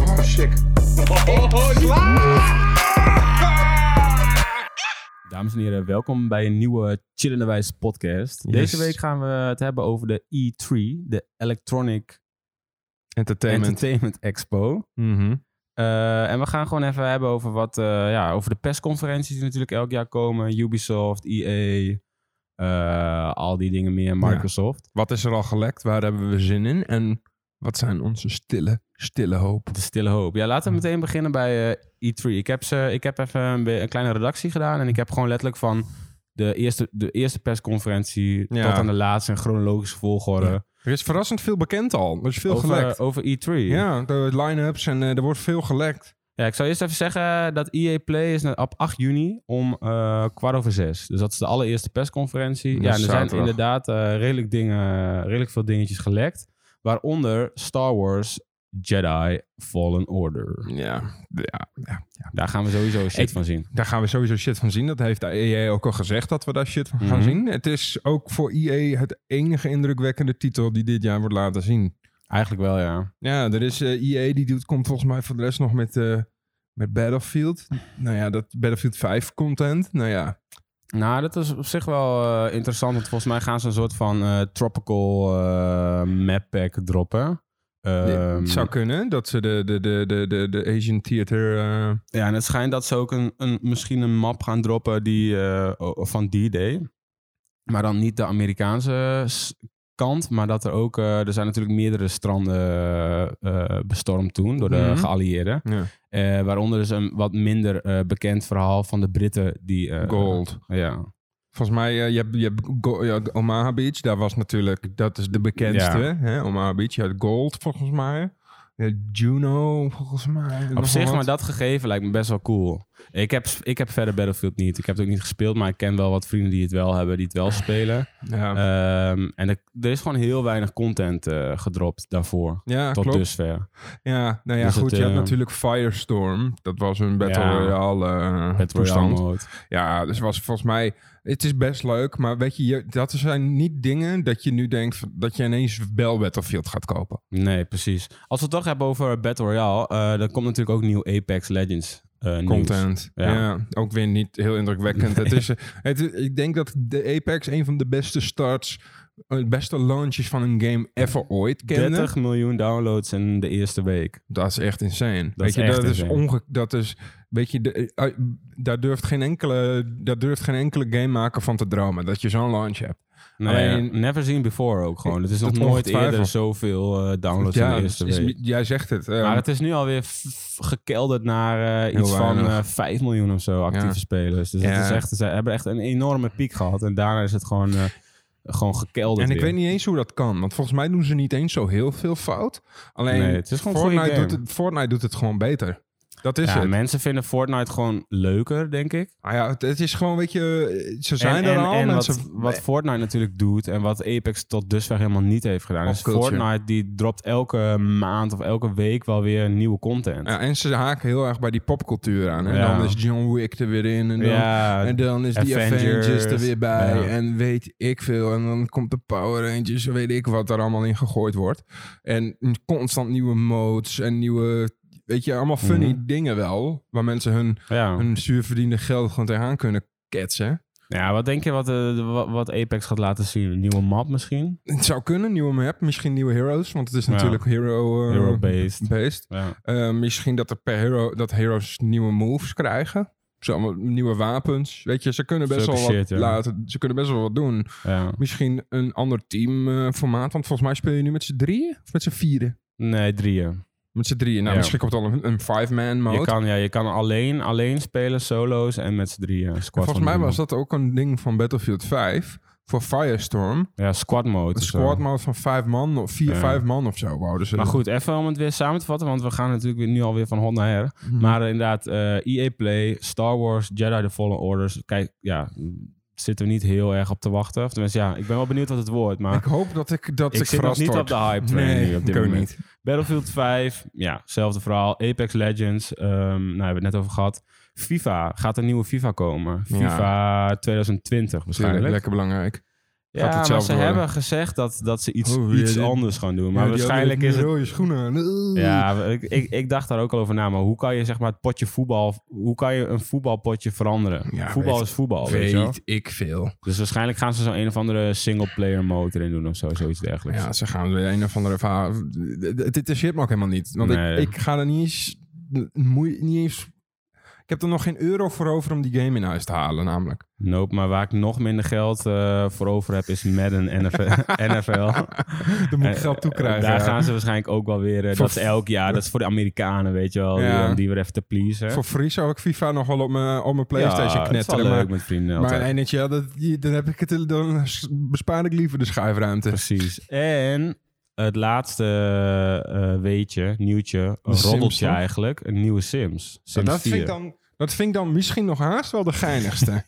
Oh, chic. Dames en heren, welkom bij een nieuwe Chillende Wijs podcast. Deze week gaan we het hebben over de E3, de Electronic Entertainment. Entertainment Expo. Mhm. Eh, en we gaan gewoon even hebben over wat, eh, ja, over de persconferenties die natuurlijk elk jaar komen. Ubisoft, EA, eh, al die dingen meer, Microsoft. Wat is er al gelekt? Waar hebben we zin in? En wat zijn onze stille, stille hoop? De stille hoop. Ja, laten we meteen beginnen bij eh, E3. Ik heb, ze, ik heb even een, be- een kleine redactie gedaan en ik heb gewoon letterlijk van de eerste, de eerste persconferentie Ja. tot aan de laatste in chronologische volgorde. Ja. Er is verrassend veel bekend al. Er is veel gelekt. over, over E E3. ja, de line-ups en eh, er wordt veel gelekt. Ja, ik zou eerst even zeggen dat EA Play is na- op 8 juni om eh, kwart over zes. Dus dat is de allereerste persconferentie. Dat ja, en is er zijn dus zaterdag. inderdaad eh, redelijk, dingen, redelijk veel dingetjes gelekt. Waaronder Star Wars Jedi Fallen Order. Ja, ja, ja. Daar gaan we sowieso shit Ik- van zien. Daar gaan we sowieso shit van zien. Dat heeft de EA ook al gezegd dat we daar shit van gaan Mhm. zien. Het is ook voor EA het enige indrukwekkende titel die dit jaar wordt laten zien. Eigenlijk wel, ja. Ja, er is eh, EA die doet, komt volgens mij voor de rest nog met, eh, met Battlefield. Nou ja, dat Battlefield 5 content. Nou ja, Nou, dat is op zich wel eh, interessant. Want volgens mij gaan ze een soort van eh, tropical eh, map pack droppen. Ehm, het zou kunnen dat ze de, de, de, de, de, de Asian Theater... eh, Ja, en het schijnt dat ze ook een, een, misschien een map gaan droppen die, eh, o- van D-Day. Maar dan niet de Amerikaanse s- kant, maar dat er ook... eh, er zijn natuurlijk meerdere stranden eh, eh, bestormd toen door de Mhm. geallieerden. ja. Eh, waaronder dus een wat minder eh, bekend verhaal van de Britten die... eh, Gold. ja. Volgens mij, eh, je hebt, je hebt Go- ja, Omaha Beach. Daar was natuurlijk, dat is de bekendste. Hè? Omaha Beach, je had Gold volgens mij. Je had Juno volgens mij. Op zich, maar dat... dat gegeven lijkt me best wel cool. Ik heb, ik heb verder Battlefield niet. Ik heb het ook niet gespeeld, maar ik ken wel wat vrienden die het wel hebben, die het wel spelen. Ja, Ehm, en er, er is gewoon heel weinig content eh, gedropt daarvoor. ja tot Ah, klopt. dusver. Ja, nou ja, Dus het, goed. je hebt eh, natuurlijk Firestorm. Dat was een Battle Ja. Royale eh, Het Royale toestand. Mode. Ja, dus was volgens mij... Het is best leuk, maar weet je, je- dat zijn niet dingen dat je nu denkt... van- dat je ineens wel Battlefield gaat kopen. Nee, precies. Als we het toch hebben over Battle Royale, eh, dan komt natuurlijk ook nieuw Apex Legends eh, nieuws. Content. Ja. Ja. ook weer niet heel indrukwekkend. Het is, eh, het, is- ik denk dat de Apex een van de beste starts... eh, beste launches van een game ever ooit kende. 30 miljoen downloads in de eerste week. Dat is echt insane. weet is je, echt dat is insane. onge... Dat is, weet je, de, eh, eh, daar, durft geen enkele, daar durft geen enkele gamemaker van te dromen. Dat je zo'n launch hebt. Nee, Alleen- never seen before ook gewoon. Het is nog Dat nooit ongetwijfeld. eerder zoveel eh, downloads in de eerste is- week. jij zegt het. eh, Maar het is nu alweer f- gekelderd naar eh, Heel iets van weinig. eh, 5 miljoen of zo actieve Ja. spelers. Dus Ja. het is echt, ze hebben echt een enorme piek gehad. En daarna is het gewoon, eh, gewoon gekelderd en ik weer. weet niet eens hoe dat kan. Want volgens mij doen ze niet eens zo heel veel fout. Alleen Nee, het is gewoon een goede Fortnite, game. doet het, Fortnite doet het gewoon beter. Dat is ja, het. mensen vinden Fortnite gewoon leuker, denk ik. Ah ja, het, het is gewoon, weet je, eh, ze zijn en er en, al. en mensen, wat, wat Fortnite natuurlijk doet en wat Apex tot dusver helemaal niet heeft gedaan. Pop Is culture. Fortnite die dropt elke maand of elke week wel weer nieuwe content. ja, en ze haken heel erg bij die popcultuur aan. En Ja. dan is John Wick er weer in. En dan, Ja, En dan is die Avengers. Avengers er weer bij. Ja. En weet ik veel. En dan komt de Power Rangers. Weet ik wat er allemaal in gegooid wordt. En constant nieuwe modes. En nieuwe... Weet je, allemaal funny Mhm. dingen wel. Waar mensen hun, ja. hun zuurverdiende geld gewoon tegenaan kunnen ketsen. ja, wat denk je wat, eh, de- wa- wat Apex gaat laten zien? Een nieuwe map misschien? Het zou kunnen. Nieuwe map. Misschien nieuwe heroes. Want het is Ja. natuurlijk hero... eh, Hero-based. based. Ja. Eh, misschien dat er per hero dat heroes nieuwe moves krijgen. Zo, allemaal nieuwe wapens. Weet je, ze kunnen best Zulke wel wat shit, ja. laten. Ze kunnen best wel wat doen. Ja. misschien een ander teamformaat. formaat want volgens mij speel je nu met z'n drieën of met z'n vieren? Nee, drieën. Met z'n drieën. Nou, Ja. misschien komt het al een, een five-man mode. Je kan, ja, je kan alleen, alleen spelen, solo's en met z'n drieën. En Squad volgens mij was dat ook een ding van Battlefield 5 voor Firestorm. Ja, squad mode. Een of zo. squad mode van vijf man of vier, Ja. vijf man of zo. Wow, dus Maar goed, even om het weer samen te vatten, want we gaan natuurlijk weer, nu alweer van hond naar her. Hm. Maar eh, inderdaad, eh EA Play, Star Wars, Jedi The Fallen Orders. Kijk, ja, mm, zitten we niet heel erg op te wachten. Of tenminste, ja, ik ben wel benieuwd wat het wordt, maar ik hoop dat ik dat ik, zit nog verrast niet word. op de hype train nu Nee, op ik dit ook moment. niet. Battlefield 5, ja, hetzelfde verhaal. Apex Legends, ehm nou hebben we het net over gehad. FIFA, gaat een nieuwe FIFA komen? Ja. FIFA 2020 waarschijnlijk. Tuurlijk, lekker belangrijk. Ja, maar ze hetzelfde worden. hebben gezegd dat, dat ze iets, Oh, ja, iets dit- anders gaan doen. Maar Ja, die waarschijnlijk hadden is het... Rode schoenen aan. Oeh. Ja, ik, ik, ik dacht daar ook al over na. Maar hoe kan je zeg maar het potje voetbal... Hoe kan je een voetbalpotje veranderen? Ja, voetbal weet- is voetbal, weet je wel. Weet ik veel. Dus waarschijnlijk gaan ze zo'n een of andere single-player motor in doen of zo, zoiets dergelijks. Ja, ze gaan weer een of andere va- D- d- Dit is shit me ook helemaal niet. Want Nee. ik, ik ga er niet eens, moe- niet eens... Ik heb er nog geen euro voor over om die game in huis te halen, namelijk. Nope, maar waar ik nog minder geld eh, voor over heb is Madden NFL. NFL. Dan moet ik Eh, geld toekrijgen. Daar ja. gaan ze waarschijnlijk ook wel weer... eh, Voor- dat is elk jaar, dat is voor de Amerikanen, weet je wel. Ja. Die, om die weer even te pleasen. Voor free zou ik FIFA nog wel op mijn, op mijn ja, Playstation het is wel knetteren. leuk Maar, met vrienden altijd. maar NHL, dat, die- dan, heb ik het, dan s- bespaar ik liever de schuifruimte. Precies. En het laatste eh, weetje, nieuwtje, een De Sims, roddeltje toch? eigenlijk. Een nieuwe Sims. Sims dat, vind 4. ik dan, dat vind ik dan misschien nog haast wel de geinigste.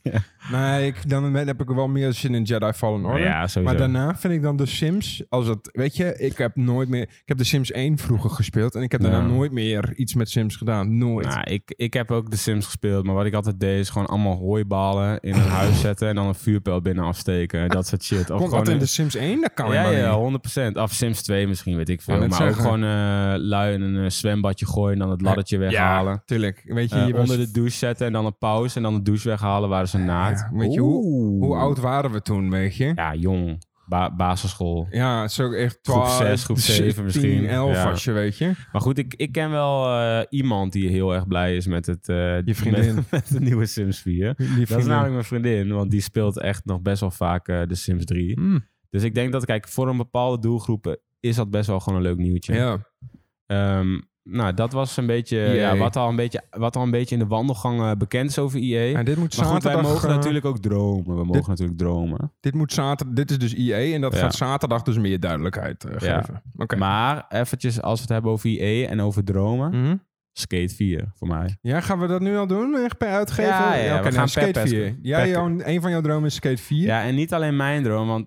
Nee, ik, dan heb ik wel meer zin in Jedi Fallen Order. Ja, sowieso. Maar daarna vind ik dan de Sims, als het, weet je, ik heb nooit meer, ik heb de Sims 1 vroeger gespeeld en ik heb daarna Ja. nooit meer iets met Sims gedaan. Nooit. Nou, ik, ik heb ook de Sims gespeeld, maar wat ik altijd deed is gewoon allemaal hooibalen in een huis zetten en dan een vuurpijl binnen afsteken. Dat soort shit. Of Komt gewoon dat in een- de Sims 1? Dat kan ja, helemaal niet. ja, 100%. Of Sims 2 misschien, weet ik veel. Wou Maar net ook zeggen. gewoon eh, lui in een eh, zwembadje gooien en dan het laddertje weghalen. Ja, tuurlijk. Weet je, Eh, je was- onder de douche zetten en dan een pauze en dan de douche weghalen waar ze naakt. Ja, weet je, hoe- Oeh. hoe oud waren we toen, weet je? Ja, jong. Ba- basisschool. Ja, zo echt Groep 12, zes, groep 16, zeven misschien. 11 Ja. was je, weet je. Maar goed, ik, ik ken wel eh, iemand die heel erg blij is met het... eh, Je vriendin. Met, met de nieuwe Sims 4. Die Dat is vriendin. namelijk mijn vriendin, want die speelt echt nog best wel vaak eh, de Sims 3. Mm, Dus ik denk dat, kijk, voor een bepaalde doelgroep eh, is dat best wel gewoon een leuk nieuwtje. ja. E Ehm, nou, dat was een beetje EA. ja, wat, al een beetje, wat al een beetje in de wandelgangen eh, bekend is over IE. En dit moet maar goed, zaterdag... wij mogen eh, natuurlijk ook dromen. We mogen natuurlijk dromen. dit, moet zaterdag, dit is dus IE en dat Ja. gaat zaterdag dus meer duidelijkheid eh, Ja. geven. Oké. Maar eventjes, als we het hebben over IE en over dromen. Mhm. Skate 4 voor mij. Ja, gaan we dat nu al doen? Echt per uitgeven? Ja, ja, we oké, nou, gaan Skate per pers- 4. per- Jij, jouw, een van jouw dromen is Skate 4. Ja, en niet alleen mijn droom, want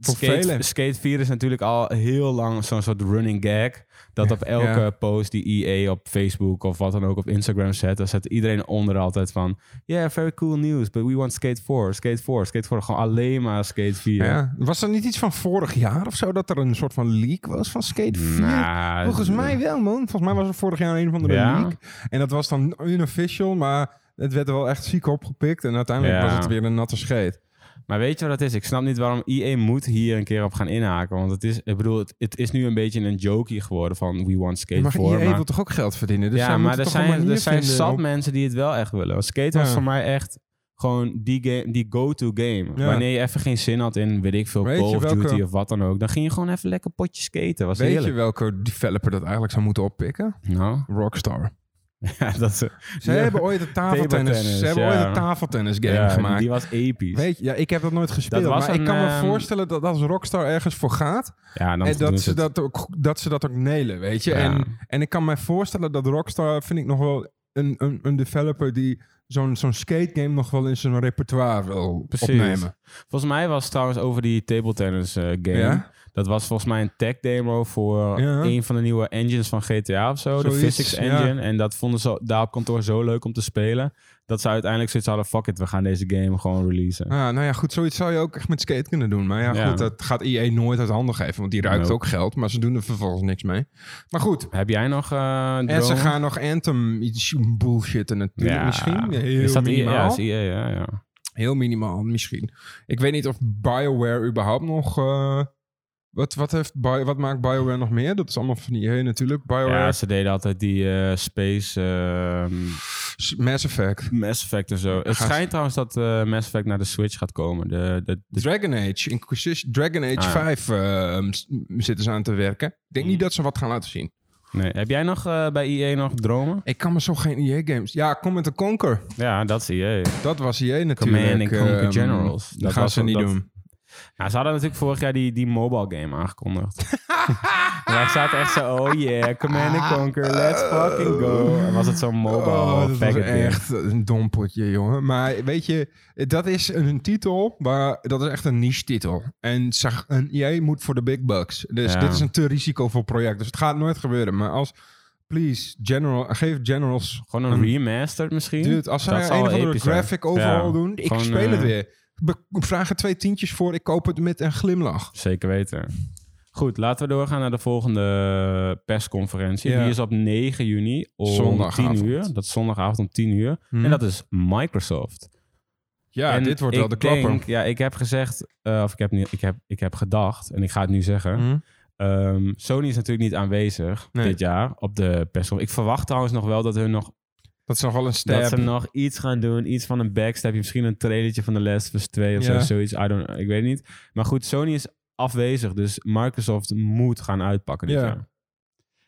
Voor skate, velen. skate 4 is natuurlijk al heel lang zo'n soort running gag. Dat op elke Ja. post die EA op Facebook of wat dan ook op Instagram zet, dan zet iedereen onder altijd van... Yeah, very cool news, but we want Skate 4, Skate 4, Skate 4. Gewoon alleen maar Skate 4. Ja. Was er niet iets van vorig jaar of zo dat er een soort van leak was van Skate 4? Nou, Volgens mij wel, man. Volgens mij was er vorig jaar een van de Ja. leak. En dat was dan unofficial, maar het werd er wel echt ziek opgepikt. En uiteindelijk Ja. was het weer een natte scheet. Maar weet je wat dat is? Ik snap niet waarom IE moet hier een keer op gaan inhaken. Want het is, ik bedoel, het, het is nu een beetje een jokie geworden van we want Skate Maar 4. EA maar- wil toch ook geld verdienen? Dus zij ja, maar moeten er toch een zijn, manier er zijn vinden zat op- mensen die het wel echt willen. Want skate was Ja. voor mij echt gewoon die, game, die go-to game. Ja. Wanneer je even geen zin had in, weet ik veel, Weet Call je of welke- Duty of wat dan ook. Dan ging je gewoon even lekker potje skaten. Was Weet je heerlijk. welke developer dat eigenlijk zou moeten oppikken? Nou, Rockstar. ja, dat is... Ze Ja. hebben ooit een tafeltennis, Tafeltennis, ze hebben ooit ja. een tafeltennis game ja, gemaakt. Die was episch. Weet je, ja, ik heb dat nooit gespeeld. Dat was maar een, ik kan me ehm, voorstellen dat als Rockstar ergens voor gaat. ja, dan en doen dat ze ze het. dat, ook, dat ze dat ook nelen, weet je. Ja. En, en ik kan me voorstellen dat Rockstar, vind ik nog wel een, een, een developer die zo'n zo'n skate game nog wel in zijn repertoire wil Precies. opnemen. Volgens mij was het trouwens over die table tennis eh, game. Ja? Dat was volgens mij een tech demo voor Ja. een van de nieuwe engines van GTA of zo. Zoiets, de physics ja. engine. En dat vonden ze daar op kantoor zo leuk om te spelen. Dat ze uiteindelijk zoiets hadden, fuck it, we gaan deze game gewoon releasen. Ah, nou ja, goed, zoiets zou je ook echt met skate kunnen doen. Maar ja, Ja. goed, dat gaat EA nooit uit handen geven. Want die ruikt Nope. ook geld, maar ze doen er vervolgens niks mee. Maar goed, Heb jij nog eh en ze dromen? gaan nog Anthem iets bullshitten natuurlijk Ja. misschien. Heel is dat EA? minimaal. Ja, is EA, ja, ja. Heel minimaal misschien. Ik weet niet of BioWare überhaupt nog. eh, wat, wat, heeft Bio, wat maakt BioWare nog meer? Dat is allemaal van die hey, natuurlijk. BioWare, Ja, ze deden altijd die eh, space ehm, S- Mass Effect, Mass Effect en zo. Het Gaan- schijnt trouwens dat eh, Mass Effect naar de Switch gaat komen. De, de, de- Dragon Age, Inquisition, Dragon Age Ah, ja. Hmm. 5 ehm, s- m- zitten ze aan te werken. Ik denk niet dat ze wat gaan laten zien. nee. Heb jij nog eh, bij EA nog dromen? Ik kan me zo geen EA-games. Ja, Command Conquer. Ja, dat is EA. Dat was EA natuurlijk. Command and Conquer ehm, Generals. Dat Dat gaan was ze niet dat- doen. Nou, ze hadden natuurlijk vorig jaar die, die mobile game aangekondigd. en wij zaten echt zo, oh yeah, Command and Conquer, let's fucking go. En was het zo'n mobile Oh, dat was faggot game. echt een dompeltje, jongen. Maar weet je, dat is een, een titel, waar, dat is echt een niche-titel. En, zag- en jij moet voor de big bucks. Dus Ja. dit is een te risicovol project. Dus het gaat nooit gebeuren. Maar als, please, general, geef generals... Gewoon een remastered misschien? Dude, als zij dat een zou of wel andere episch zijn. graphic overhaul Ja, doen, ik gewoon, speel het eh, weer. be- vraag er twee tientjes voor. Ik koop het met een glimlach. Zeker weten. Goed, laten we doorgaan naar de volgende eh, persconferentie. Ja. Die is op 9 juni om Zondagavond. Mhm. 10 uur. Dat is zondagavond om 10 uur. En dat is Microsoft. Ja, en dit wordt wel ik de klapper. denk- ja, ik heb gezegd, eh, of ik heb, niet, ik, heb, ik heb gedacht, en ik ga het nu zeggen. Mhm. Ehm, Sony is natuurlijk niet aanwezig Nee. dit jaar op de persconferentie. Ik verwacht trouwens nog wel dat hun nog Dat is nog wel een stap. Dat ze nog iets gaan doen. Iets van een backstepje. Misschien een trailertje van The Last of Us 2 of zo, Ja. zoiets. I don't, ik weet het niet. Maar goed, Sony is afwezig. Dus Microsoft moet gaan uitpakken dit Ja. jaar.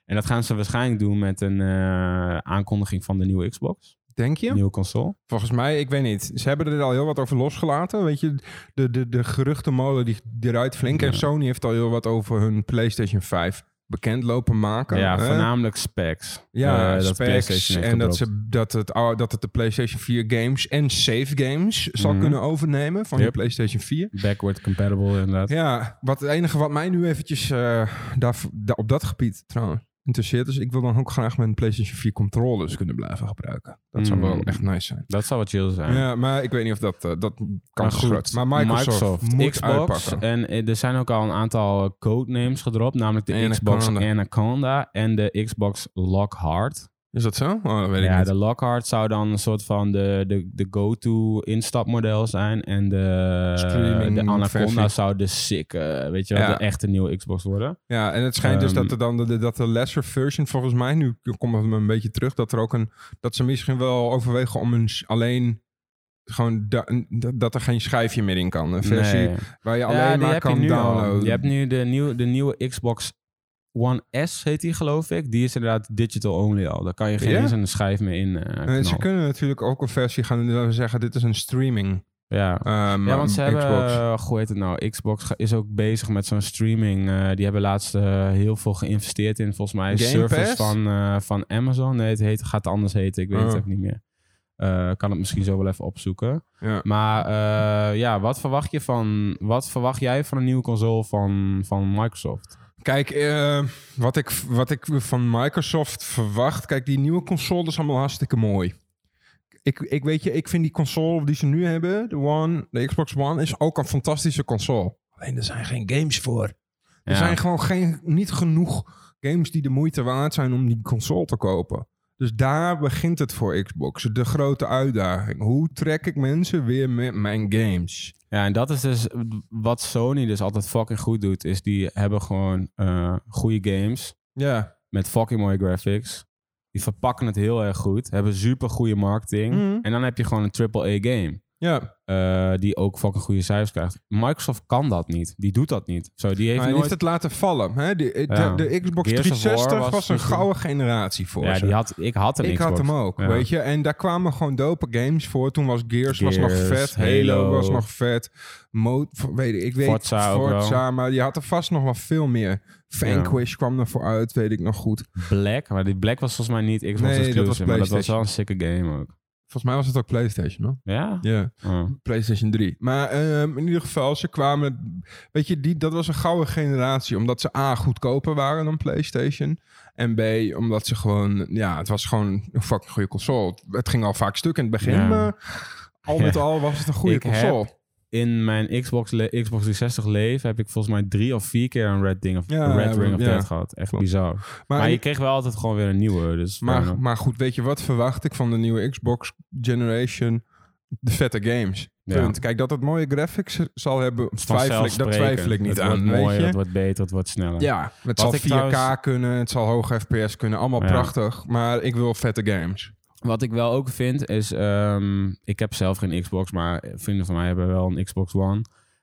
En dat gaan ze waarschijnlijk doen met een eh, aankondiging van de nieuwe Xbox. Denk je? Nieuwe console. Volgens mij, ik weet niet. Ze hebben er al heel wat over losgelaten. Weet je, de, de, de geruchtenmolen die, die ruit flink. En Ja. Sony heeft al heel wat over hun PlayStation 5 bekend lopen maken. ja, hè? voornamelijk specs. Ja, Eh, dat specs PlayStation heeft en dat, gedropt. ze, dat, het, ou- dat het de PlayStation 4 games en save games zal Mhm. kunnen overnemen van de Yep. PlayStation 4. Backward compatible inderdaad. Ja, wat het enige wat mij nu eventjes eh, daar, da- op dat gebied trouwens interesseert is, ik wil dan ook graag mijn PlayStation 4 controllers kunnen blijven gebruiken. Dat zou Mm. wel echt nice zijn. Dat zou wat chill zijn. Ja, maar ik weet niet of dat, eh, dat kan Maar maar goed, Maar Microsoft, moet Xbox uitpakken. en eh, er zijn ook al een aantal eh, codenames gedropt, namelijk de Anaconda. Xbox Anaconda en de Xbox Lockhart. Is dat zo? Oh, dat weet ja, ik niet. de Lockhart zou dan een soort van de, de, de go-to instapmodel zijn en de, Streaming de Anaconda versie. zou de sick, eh, weet je wel, Ja. de echte nieuwe Xbox worden. Ja, en het schijnt dus Ehm, dat er dan de, de- dat de lesser version volgens mij, nu komt het me een beetje terug, dat er ook een, dat ze misschien wel overwegen om een, s- alleen gewoon, da- een- dat- dat er geen schijfje meer in kan. Een versie Nee. waar je Ja, alleen die maar heb je kan nu al. downloaden. Je hebt nu de nieuwe, de nieuwe Xbox One S, heet die geloof ik. Die is inderdaad digital only al. Daar kan je geen Ja? eens een schijf meer in eh, Nee, ze knallen. kunnen natuurlijk ook een versie gaan doen dat we zeggen, dit is een streaming. Ja. ehm, Ja, want ze hebben, Xbox. eh, hoe heet het nou, Xbox ga- is ook bezig met zo'n streaming. eh, die hebben laatst eh, heel veel geïnvesteerd in, volgens mij, Game service Pass? van, eh, van Amazon. Nee, het heet, gaat anders heten, ik weet het Oh. ook niet meer. Eh, kan het misschien zo wel even opzoeken. Ja. Maar eh, ja, wat verwacht, je van, wat verwacht jij van een nieuwe console van, van Microsoft? Kijk, eh, wat, ik, wat ik van Microsoft verwacht. Kijk, die nieuwe console is allemaal hartstikke mooi. Ik, ik weet je, ik vind die console die ze nu hebben, de, One, de Xbox One, is ook een fantastische console. Alleen er zijn geen games voor. Er Ja. zijn gewoon geen, niet genoeg games die de moeite waard zijn om die console te kopen. Dus daar begint het voor Xbox. De grote uitdaging. Hoe trek ik mensen weer met mijn games? Ja, en dat is dus wat Sony dus altijd fucking goed doet. Is die hebben gewoon eh, goede games. Ja. met fucking mooie graphics. Die verpakken het heel erg goed. Hebben super goede marketing. Mhm. En dan heb je gewoon een AAA game. Ja. eh, die ook fucking goede cijfers krijgt. Microsoft kan dat niet. Die doet dat niet. Zo, die heeft Maar hij Nou, heeft nooit... het laten vallen. Hè? De, de, Ja. de Xbox Gears of War 360 was was, een misschien- gouden generatie voor Ja, ze. die had, ik had een ik had Xbox. hem ook, Ja. weet je. En daar kwamen gewoon dope games voor. Toen was Gears, was nog Gears, vet. Halo, Halo. was nog vet. Mo weet ik, ik weet Forza ook maar je had er vast nog wel veel meer. Vanquish kwam er vooruit, weet ik nog goed. Black, maar die Black was volgens mij niet Xbox Nee, dat exclusive. was maar dat was PlayStation. wel een sikke game ook. Volgens mij was het ook PlayStation, hoor. Ja? Ja. Oh. PlayStation 3. Maar ehm, in ieder geval, ze kwamen. Weet je, die, dat was een gouden generatie. Omdat ze A. goedkoper waren dan PlayStation. En B. omdat ze gewoon. Ja, het was gewoon een fucking goede console. Het ging al vaak stuk in het begin. Ja. Maar al met Ja. al was het een goede Ik console. In mijn Xbox, le- Xbox 360 leven heb ik volgens mij drie of vier keer een Red Ding of, Ja, Red ja, Ring of ja. Death gehad. Echt Klopt. bizar. Maar, maar, je kreeg wel altijd gewoon weer een nieuwe. Dus maar, maar goed, weet je wat verwacht ik van de nieuwe Xbox Generation? De vette games. Ja. Punt. Kijk, dat het mooie graphics zal hebben, twijfel ik, Vanzelfsprekend. dat twijfel ik niet het aan. Wordt weet mooier, je? Het wordt beter, het wordt sneller. Ja, het Wat zal ik 4K trouwens- kunnen, het zal hoge FPS kunnen. Allemaal Ja. prachtig, maar ik wil vette games. Wat ik wel ook vind is, ehm, ik heb zelf geen Xbox, maar vrienden van mij hebben wel een Xbox One.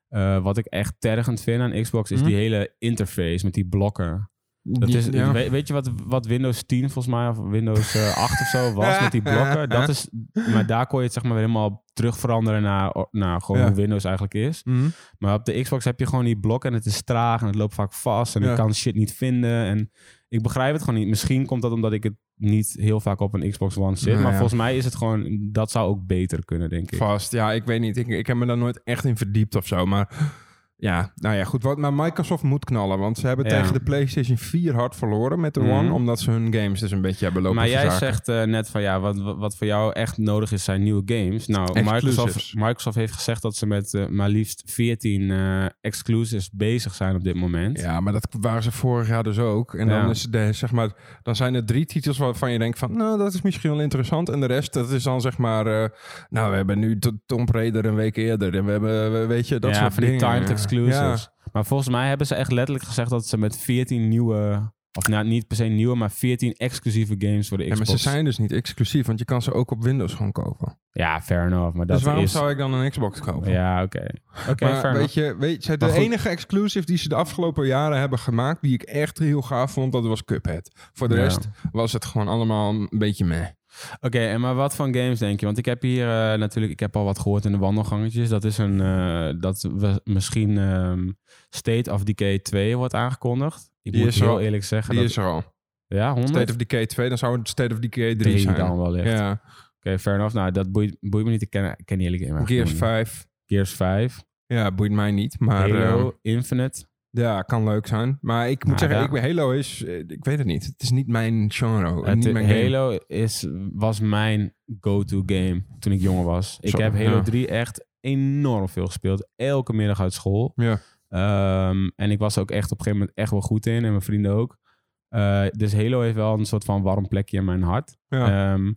Eh, wat ik echt tergend vind aan Xbox is Hm? die hele interface met die blokken. Dat is, ja. we- weet je wat, wat Windows 10 volgens mij, of Windows eh, 8 of zo was met die blokken? Dat is, maar daar kon je het zeg maar weer helemaal terug veranderen naar, naar gewoon Ja. hoe Windows eigenlijk is. Mhm. Maar op de Xbox heb je gewoon die blok en het is traag en het loopt vaak vast en Ja. ik kan shit niet vinden. En ik begrijp het gewoon niet. Misschien komt dat omdat ik het niet heel vaak op een Xbox One zit. Nou maar ja. volgens mij is het gewoon, dat zou ook beter kunnen, denk ik. Vast, ja, ik weet niet. Ik, ik heb me daar nooit echt in verdiept of zo, maar Ja, nou ja, goed. Wat, maar Microsoft moet knallen, want ze hebben Ja. tegen de PlayStation 4 hard verloren met de Mhm. One, omdat ze hun games dus een beetje hebben lopen Maar jij verzaken. zegt eh, net van ja, wat, wat voor jou echt nodig is zijn nieuwe games. Nou, Exclusives. Microsoft, Microsoft heeft gezegd dat ze met eh, maar liefst 14 eh, exclusives bezig zijn op dit moment. Ja, maar dat waren ze vorig jaar dus ook. En Ja. dan, is de, zeg maar, dan zijn er drie titels waarvan je denkt van... nou, dat is misschien wel interessant. En de rest, dat is dan zeg maar... eh, nou, we hebben nu T- Tomb Raider een week eerder. En we hebben, we- weet je, dat Ja, soort van die dingen. timed exclusives. Maar volgens mij hebben ze echt letterlijk gezegd dat ze met 14 nieuwe, of nou niet per se nieuwe, maar 14 exclusieve games voor de Ja, maar Xbox. ze zijn dus niet exclusief, want je kan ze ook op Windows gewoon kopen. Ja, fair enough. Maar dat dus waarom is... zou ik dan een Xbox kopen? Ja, oké. Oké, maar fair weet enough. je, weet je, de Maar goed. enige exclusive die ze de afgelopen jaren hebben gemaakt, die ik echt heel gaaf vond, dat was Cuphead. Voor de Ja. rest was het gewoon allemaal een beetje meh. Oké, en maar wat van games denk je? Want ik heb hier eh, natuurlijk, ik heb al wat gehoord in de wandelgangetjes. Dat is een, eh, dat we misschien ehm, State of Decay 2 wordt aangekondigd. Ik Die moet is heel al- eerlijk zeggen. Die dat, is er al. ja, 100. State of Decay 2, dan zou het State of Decay 3 Drie zijn. dan wel echt. Ah, Oké, Ja, fair enough. Nou, dat boeit, boeit me niet. Ik ken, ik ken die eerlijk in mijn Gears 5. Gears 5. Ja, boeit mij niet. Maar Halo, ehm, Infinite. ja, kan leuk zijn. Maar ik Nou, moet zeggen, ja. ik, Halo is... eh, Ik weet het niet. Het is niet mijn genre. Het, oh, niet mijn game. Halo is, was mijn go-to game toen ik jonger was. Ik Zo, heb Halo ja. 3 echt enorm veel gespeeld. Elke middag uit school. Ja. Ehm, en ik was er ook echt op een gegeven moment echt wel goed in. En mijn vrienden ook. Eh, dus Halo heeft wel een soort van warm plekje in mijn hart. Ja. Ehm,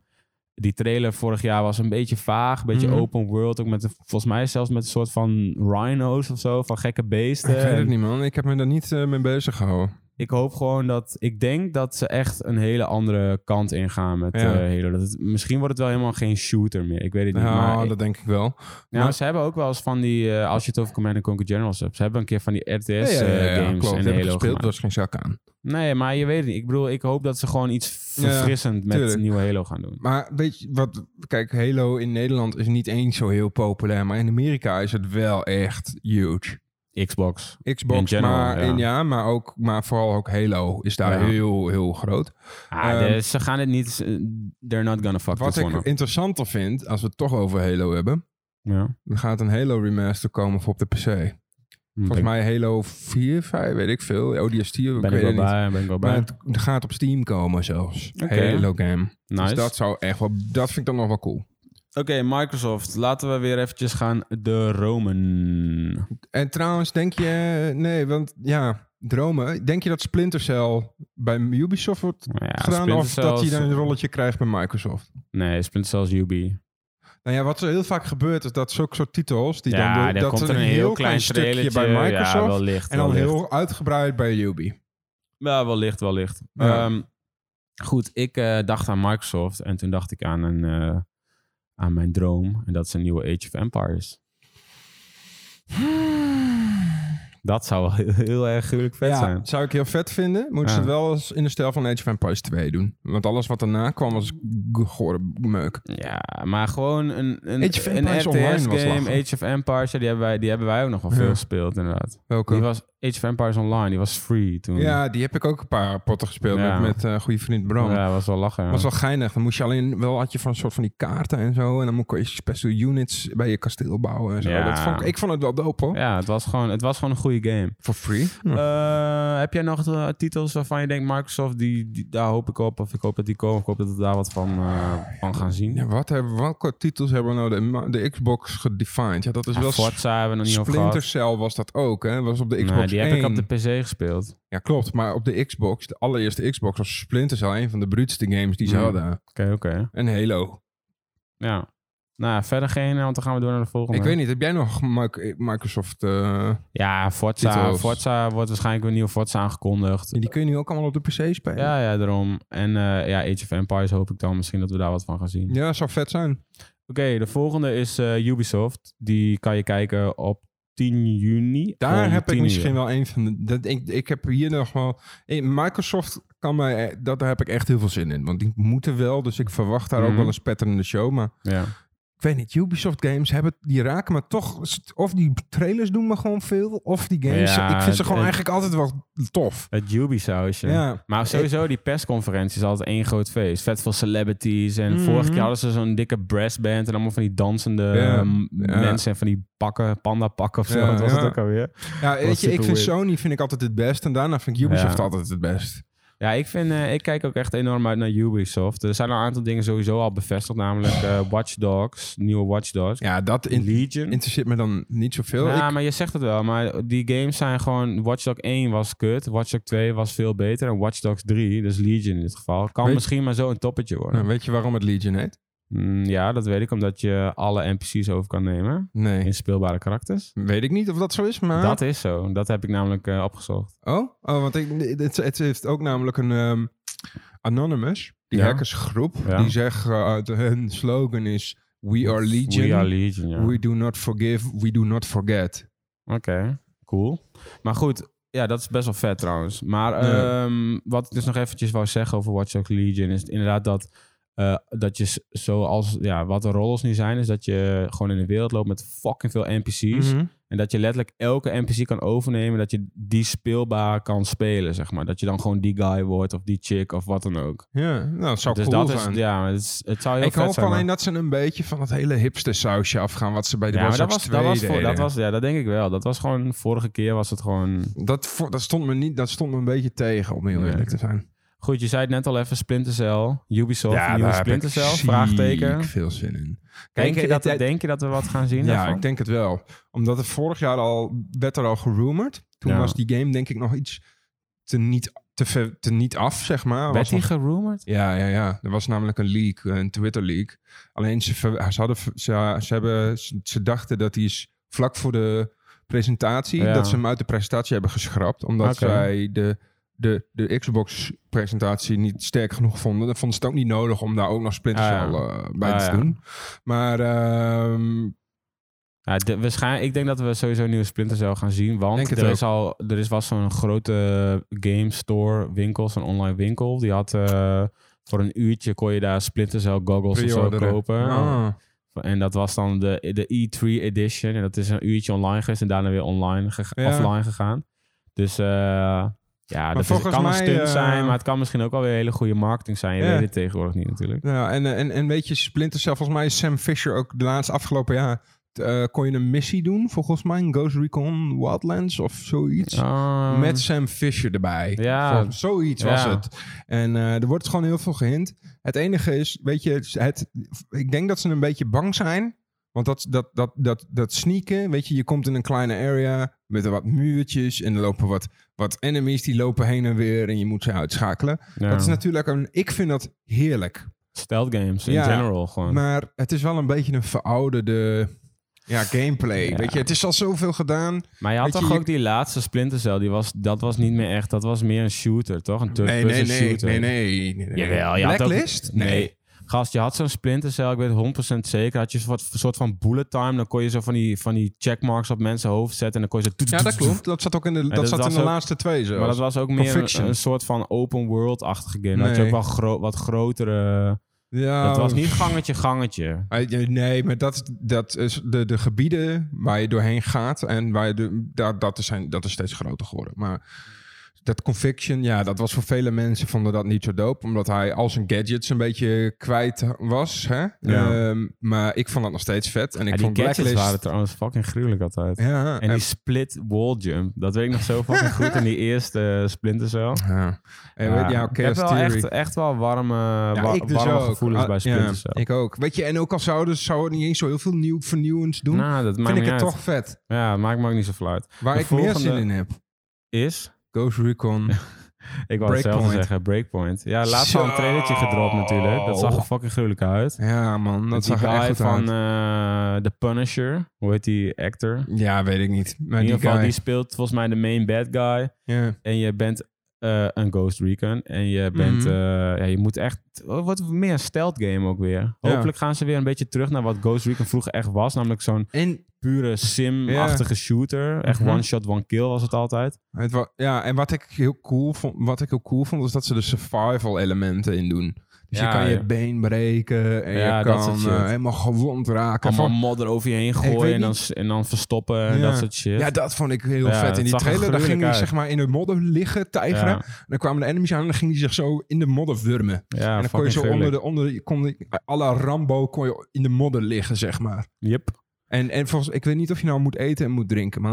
die trailer vorig jaar was een beetje vaag. Een beetje Mhm. open world. Ook met, een- volgens mij zelfs met een soort van rhino's of zo. Van gekke beesten. ik weet En- het niet, man. Ik heb me daar niet eh, mee bezig gehouden. ik hoop gewoon dat. Ik denk dat ze echt een hele andere kant ingaan met eh Ja. Halo. Dat het, misschien wordt het wel helemaal geen shooter meer. Ik weet het niet. maar Nou, ik- dat denk ik wel. nou, maar- ze hebben ook wel eens van die. eh, als je het over Command Conquer Generals hebt. Ze hebben een keer van die RTS-games Ja, ja, ja, ja, en klopt. Die heb ik eh, Halo gespeeld, gemaakt. dat is geen zak aan. Nee, maar je weet het niet. Ik bedoel, ik hoop dat ze gewoon iets Ja, verfrissend met tuurlijk. nieuwe Halo gaan doen. Maar weet je wat? Kijk, Halo in Nederland is niet eens zo heel populair. Maar in Amerika is het wel echt huge. Xbox. Xbox, In general, maar, ja. in, ja, maar, ook, maar vooral ook Halo is daar Ja. heel, heel groot. Ah, Ehm, de- ze gaan het niet. They're not gonna fuck Wat this one ik up. interessanter vind, als we het toch over Halo hebben, Ja. hm, er gaat een Halo remaster komen voor op de PC. Volgens mij Halo 4, 5, weet ik veel. Oh, ODST, ik ben ik weet wel het niet. bij. Ben ik wel Maar bij. het het gaat op Steam komen zelfs. Oké. Halo game. Nice. Dus dat zou echt wel, dat vind ik dan nog wel cool. Oké, Microsoft. Laten we weer eventjes gaan de Roman. En trouwens, denk je... Nee, want ja, dromen. Denk je dat Splinter Cell bij Ubisoft wordt Ja, gedaan? Splinter Of dat Cell's- hij dan een rolletje krijgt bij Microsoft? Nee, Splinter Cell's Ubi. Nou ja, wat er heel vaak gebeurt, is dat zulke soort titels... Die ja, dan daar door, dat komt er er een heel klein stukje trailertje bij Microsoft... Ja, wel licht. en dan wel licht. heel uitgebreid bij Ubi. Ja, wel licht, wel licht. Ja. Ehm, goed, ik eh, dacht aan Microsoft en toen dacht ik aan, een, eh, aan mijn droom. En dat is een nieuwe Age of Empires. Ah. Dat zou wel heel, heel erg gruwelijk vet ja, zijn. zou ik heel vet vinden. Moeten Ja. ze het wel eens in de stijl van Age of Empires 2 doen. Want alles wat daarna kwam was g- gore meuk. Ja, maar gewoon een, een, Age of een Empires online was RTS-game, lachen. Age of Empires, ja, die, hebben wij, die hebben wij ook nog wel Ja. veel gespeeld, inderdaad. Welke? Die was Age of Empires Online, die was free toen. Ja, die heb ik ook een paar potten gespeeld Ja. met, met eh, goede vriend Bram. Ja, was wel lachen. ja. was wel geinig. Dan moest je alleen wel had je van een soort van die kaarten en zo. En dan moest je special units bij je kasteel bouwen en zo. Ja. Dat vond ik, ik vond het wel dope hoor. Ja, het was gewoon, het was gewoon een goede game. For free. Eh, heb jij nog eh, titels waarvan je denkt, Microsoft, die, die, daar hoop ik op. Of ik hoop dat die komen. Of ik hoop dat we daar wat van, eh, van gaan zien. Ja, wat hebben, welke titels hebben nou de, ma- de Xbox gedefined? Ja, dat is Ja, wel... Forza hebben we nog niet over Splinter gehad. Cell was dat ook, hè? Was op de Xbox Nee, die heb 1. ik op de PC gespeeld. Ja, klopt. Maar op de Xbox, de allereerste Xbox, was Splinter Cell een van de bruutste games die ze Ja. hadden. Oké, oké. En Halo. Ja. Nou, verder geen, want dan gaan we door naar de volgende. Ik weet niet, heb jij nog Mic- Microsoft... eh, Ja, Forza, Titels. Forza wordt waarschijnlijk weer een nieuwe Forza aangekondigd. die kun je nu ook allemaal op de PC spelen. Ja, ja, daarom. En eh, ja, Age of Empires hoop ik dan misschien dat we daar wat van gaan zien. ja zou vet zijn. Oké, de volgende is eh, Ubisoft. Die kan je kijken op 10 juni. Daar om heb 10 ik uur. misschien wel een van de. Dat, ik, ik heb hier nog wel. eh, Microsoft kan mij. eh, Dat, daar heb ik echt heel veel zin in. Want die moeten wel. Dus ik verwacht daar ook Mhm. wel een spetterende show. Maar Ja. ik weet niet, Ubisoft games hebben, die raken me toch, of die trailers doen me gewoon veel, of die games, Ja, ik vind ze het- gewoon het- eigenlijk altijd wel tof. Het Ubisoftje. Ja. Maar sowieso, die persconferentie is altijd één groot feest. Vet veel celebrities. En Mhm. vorige keer hadden ze zo'n dikke brassband. En allemaal van die dansende Ja. ehm, Ja. mensen. En van die pakken, panda pakken of zo. Ja, Wat was ja. het ook alweer? Ja, weet je, ik super vind weird. Sony vind ik altijd het best en daarna vind ik Ubisoft Ja. altijd het best. Ja, ik, vind, eh, ik kijk ook echt enorm uit naar Ubisoft. Er zijn al een aantal dingen sowieso al bevestigd. Namelijk eh, Watch Dogs, nieuwe Watch Dogs. Ja, dat in- Legion. interesseert me dan niet zoveel. Ja, Ik- maar je zegt het wel. Maar die games zijn gewoon... Watch Dogs 1 was kut. Watch Dogs 2 was veel beter. En Watch Dogs 3, dus Legion in dit geval... kan Weet- misschien maar zo een toppetje worden. Nou, weet je waarom het Legion heet? Mm, ja, dat weet ik. Omdat je alle NPC's over kan nemen. Nee. In speelbare karakters. Weet ik niet of dat zo is, maar... Dat is zo. Dat heb ik namelijk eh, opgezocht. Oh, oh want ik, het, het heeft ook namelijk een ehm, Anonymous, die Ja. hackersgroep, Ja. die zegt, eh, uit hun slogan is We are Legion, We we, are Legion, ja. do not forgive, we do not forget. Oké, cool. Maar goed, ja, dat is best wel vet trouwens. Maar Ja. ehm, wat ik dus nog eventjes wou zeggen over Watch Dogs Legion... is inderdaad dat, eh, dat je s- zoals... Ja, wat de rollers nu zijn, is dat je gewoon in de wereld loopt met fucking veel NPC's. Mhm. En dat je letterlijk elke NPC kan overnemen. Dat je die speelbaar kan spelen, zeg maar. Dat je dan gewoon die guy wordt of die chick of wat dan ook. Ja, nou, dat zou Dus cool dat zijn. is, ja, maar het, is- het zou heel ik vet hoop zijn. alleen maar- dat ze een beetje van dat hele hipster sausje afgaan wat ze bij de ja, Watch maar dat Dogs was, dat 2 was, voor, deden. dat was, ja, dat denk ik wel. Dat was gewoon, vorige keer was het gewoon... Dat, vo- dat stond me niet, dat stond me een beetje tegen, om heel Ja. eerlijk te zijn. Goed, je zei het net al even, Splinter Cell, Ubisoft, nieuwe Splinter Cell, vraagteken. veel zin in. Denk je, dat, het- denk je dat we wat gaan zien Ja, daarvan? ik denk het wel. Omdat het vorig jaar al werd er al gerumored. Toen Ja. was die game denk ik nog iets te niet, te ver, te niet af, zeg maar. Werd Was die nog- gerumored? ja, ja, ja. Er was namelijk een leak, eh, een Twitter leak. Alleen ze, ver- ze, hadden, ver- ze, eh, ze, hebben, ze, ze dachten dat die is vlak voor de presentatie, Ja. dat ze hem uit de presentatie hebben geschrapt. Omdat Oké. zij de, de, de Xbox-presentatie niet sterk genoeg vonden. Dan vonden ze het ook niet nodig om daar ook nog Splinter Ah, ja. Cell eh, bij Ah, te ja. doen. Maar ehm, Ja, de- waarschijnlijk, ik denk dat we sowieso een nieuwe Splinter Cell gaan zien. Denk Want het er ook. is, al, er is was zo'n grote game store winkel, zo'n online winkel. Die had eh, voor een uurtje kon je daar Splinter Cell goggles of zo Pre-orderen. kopen. Ah. En dat was dan de, de E3 edition. En dat is een uurtje online geweest en daarna weer online gega- Ja. offline gegaan. Dus eh, ja, dat is- het volgens kan een mij, stunt eh, zijn, maar het kan misschien ook wel weer hele goede marketing zijn. Je Ja. weet het tegenwoordig niet natuurlijk. Ja, en, eh, en, en weet je, Splinter Cell, volgens mij is Sam Fisher ook de laatste afgelopen jaar... t- eh, kon je een missie doen, volgens mij, in Ghost Recon Wildlands of zoiets. Ah, Met Sam Fisher erbij. Ja. Volgens- Zoiets was Ja. het. En eh, er wordt gewoon heel veel gehind. Het enige is, weet je, het, ik denk dat ze een beetje bang zijn. Want dat, dat, dat, dat, dat sneaken, weet je, je komt in een kleine area met wat muurtjes en er lopen wat, wat enemies die lopen heen en weer en je moet ze uitschakelen. ja. Dat is natuurlijk een, ik vind dat heerlijk. stealth games in Ja, general gewoon. Maar het is wel een beetje een verouderde ja, gameplay. Ja. Weet je, het is al zoveel gedaan. Maar je had Weet toch je, je- ook die laatste Splinter Cell, die was, dat was niet meer echt, dat was meer een shooter, toch? Een Nee, nee, third-person nee, shooter. nee, nee, nee, nee. Jawel, je had ook- Blacklist? nee. Gast, je had zo'n Splinter Cell, ik weet 100% zeker, had je een soort, soort van bullet time, dan kon je zo van die, van die checkmarks op mensen hoofd zetten en dan kon je zo... Ja, dat klopt. Dat zat ook in de, dat dat zat in was de ook- laatste twee zo. Maar dat was ook meer Conviction. een, een soort van open world-achtige game. Dat je Nee. Oh. ook wel gro- wat grotere... ja, Dat was niet gangetje, gangetje. Ah, ja, Nee, maar dat, dat is de, de gebieden waar je doorheen gaat en waar je de, dat, dat, is zijn, dat is steeds groter geworden. Maar dat Conviction, ja, dat was voor vele mensen vonden dat niet zo dope, omdat hij al zijn gadgets een beetje kwijt was. Hè? Ehm, maar ik vond dat nog steeds vet. En ik Ja, die vond gadgets Blacklist... waren trouwens fucking gruwelijk altijd. ja, En die split wall jump, dat weet ik nog zo fucking goed in die eerste eh, Splinter Cell. ja. En weet- ja, ik heb Chaos wel Theory. echt, echt wel warme, Ja, wa- ik dus warme ook. gevoelens Ah, bij Splinter ja, Cell. Ik ook. Weet je, en ook al zouden, zou het niet eens zo heel veel nieuw, vernieuwends doen, nou, dat maakt vind ik niet het uit. toch vet. Ja, maakt me ook niet zo fluit. Waar De ik meer volgende- zin in heb. Is, Ghost Recon. ik wou hetzelfde Breakpoint. zeggen, Breakpoint. Ja, laatst al een Zo. trailertje gedropt natuurlijk. Dat zag er fucking gruwelijk uit. ja, man. Dat Met die zag er echt guy goed van uit. eh, The Punisher, hoe heet die actor? In ja, weet ik niet. Maar die eh, ieder geval, guy. die speelt volgens mij de main bad guy. ja. en je bent eh, een Ghost Recon. En je bent, Mhm. eh, ja, je moet echt, het wordt meer een stealth game ook weer. Ja. Hopelijk gaan ze weer een beetje terug naar wat Ghost Recon vroeger echt was. Namelijk zo'n En, pure sim-achtige shooter. Echt Mhm. one shot, one kill was het altijd. het wa- ja, en wat ik heel cool vond, wat ik heel cool vond, was dat ze de survival elementen in doen. Dus Ja, je kan ja. je been breken en Ja, je dat kan soort shit. eh, helemaal gewond raken. Allemaal Van- modder over je heen Ik gooien weet en dan, niet. s- en dan verstoppen en Ja. dat soort shit. ja, dat vond ik heel Ja, vet dat in die zag er trailer. Daar ging gruwelijk hij uit. zeg maar in de modder liggen, tijgeren. Ja. En dan kwamen de enemies aan en dan ging hij zich zo in de modder wurmen. Ja, en dan kon je fucking zo onder gruwelijk. de, onder de, kon de, à la Rambo kon je in de modder liggen, zeg maar. Yep. En, en volgens, ik weet niet of je nou moet eten en moet drinken, maar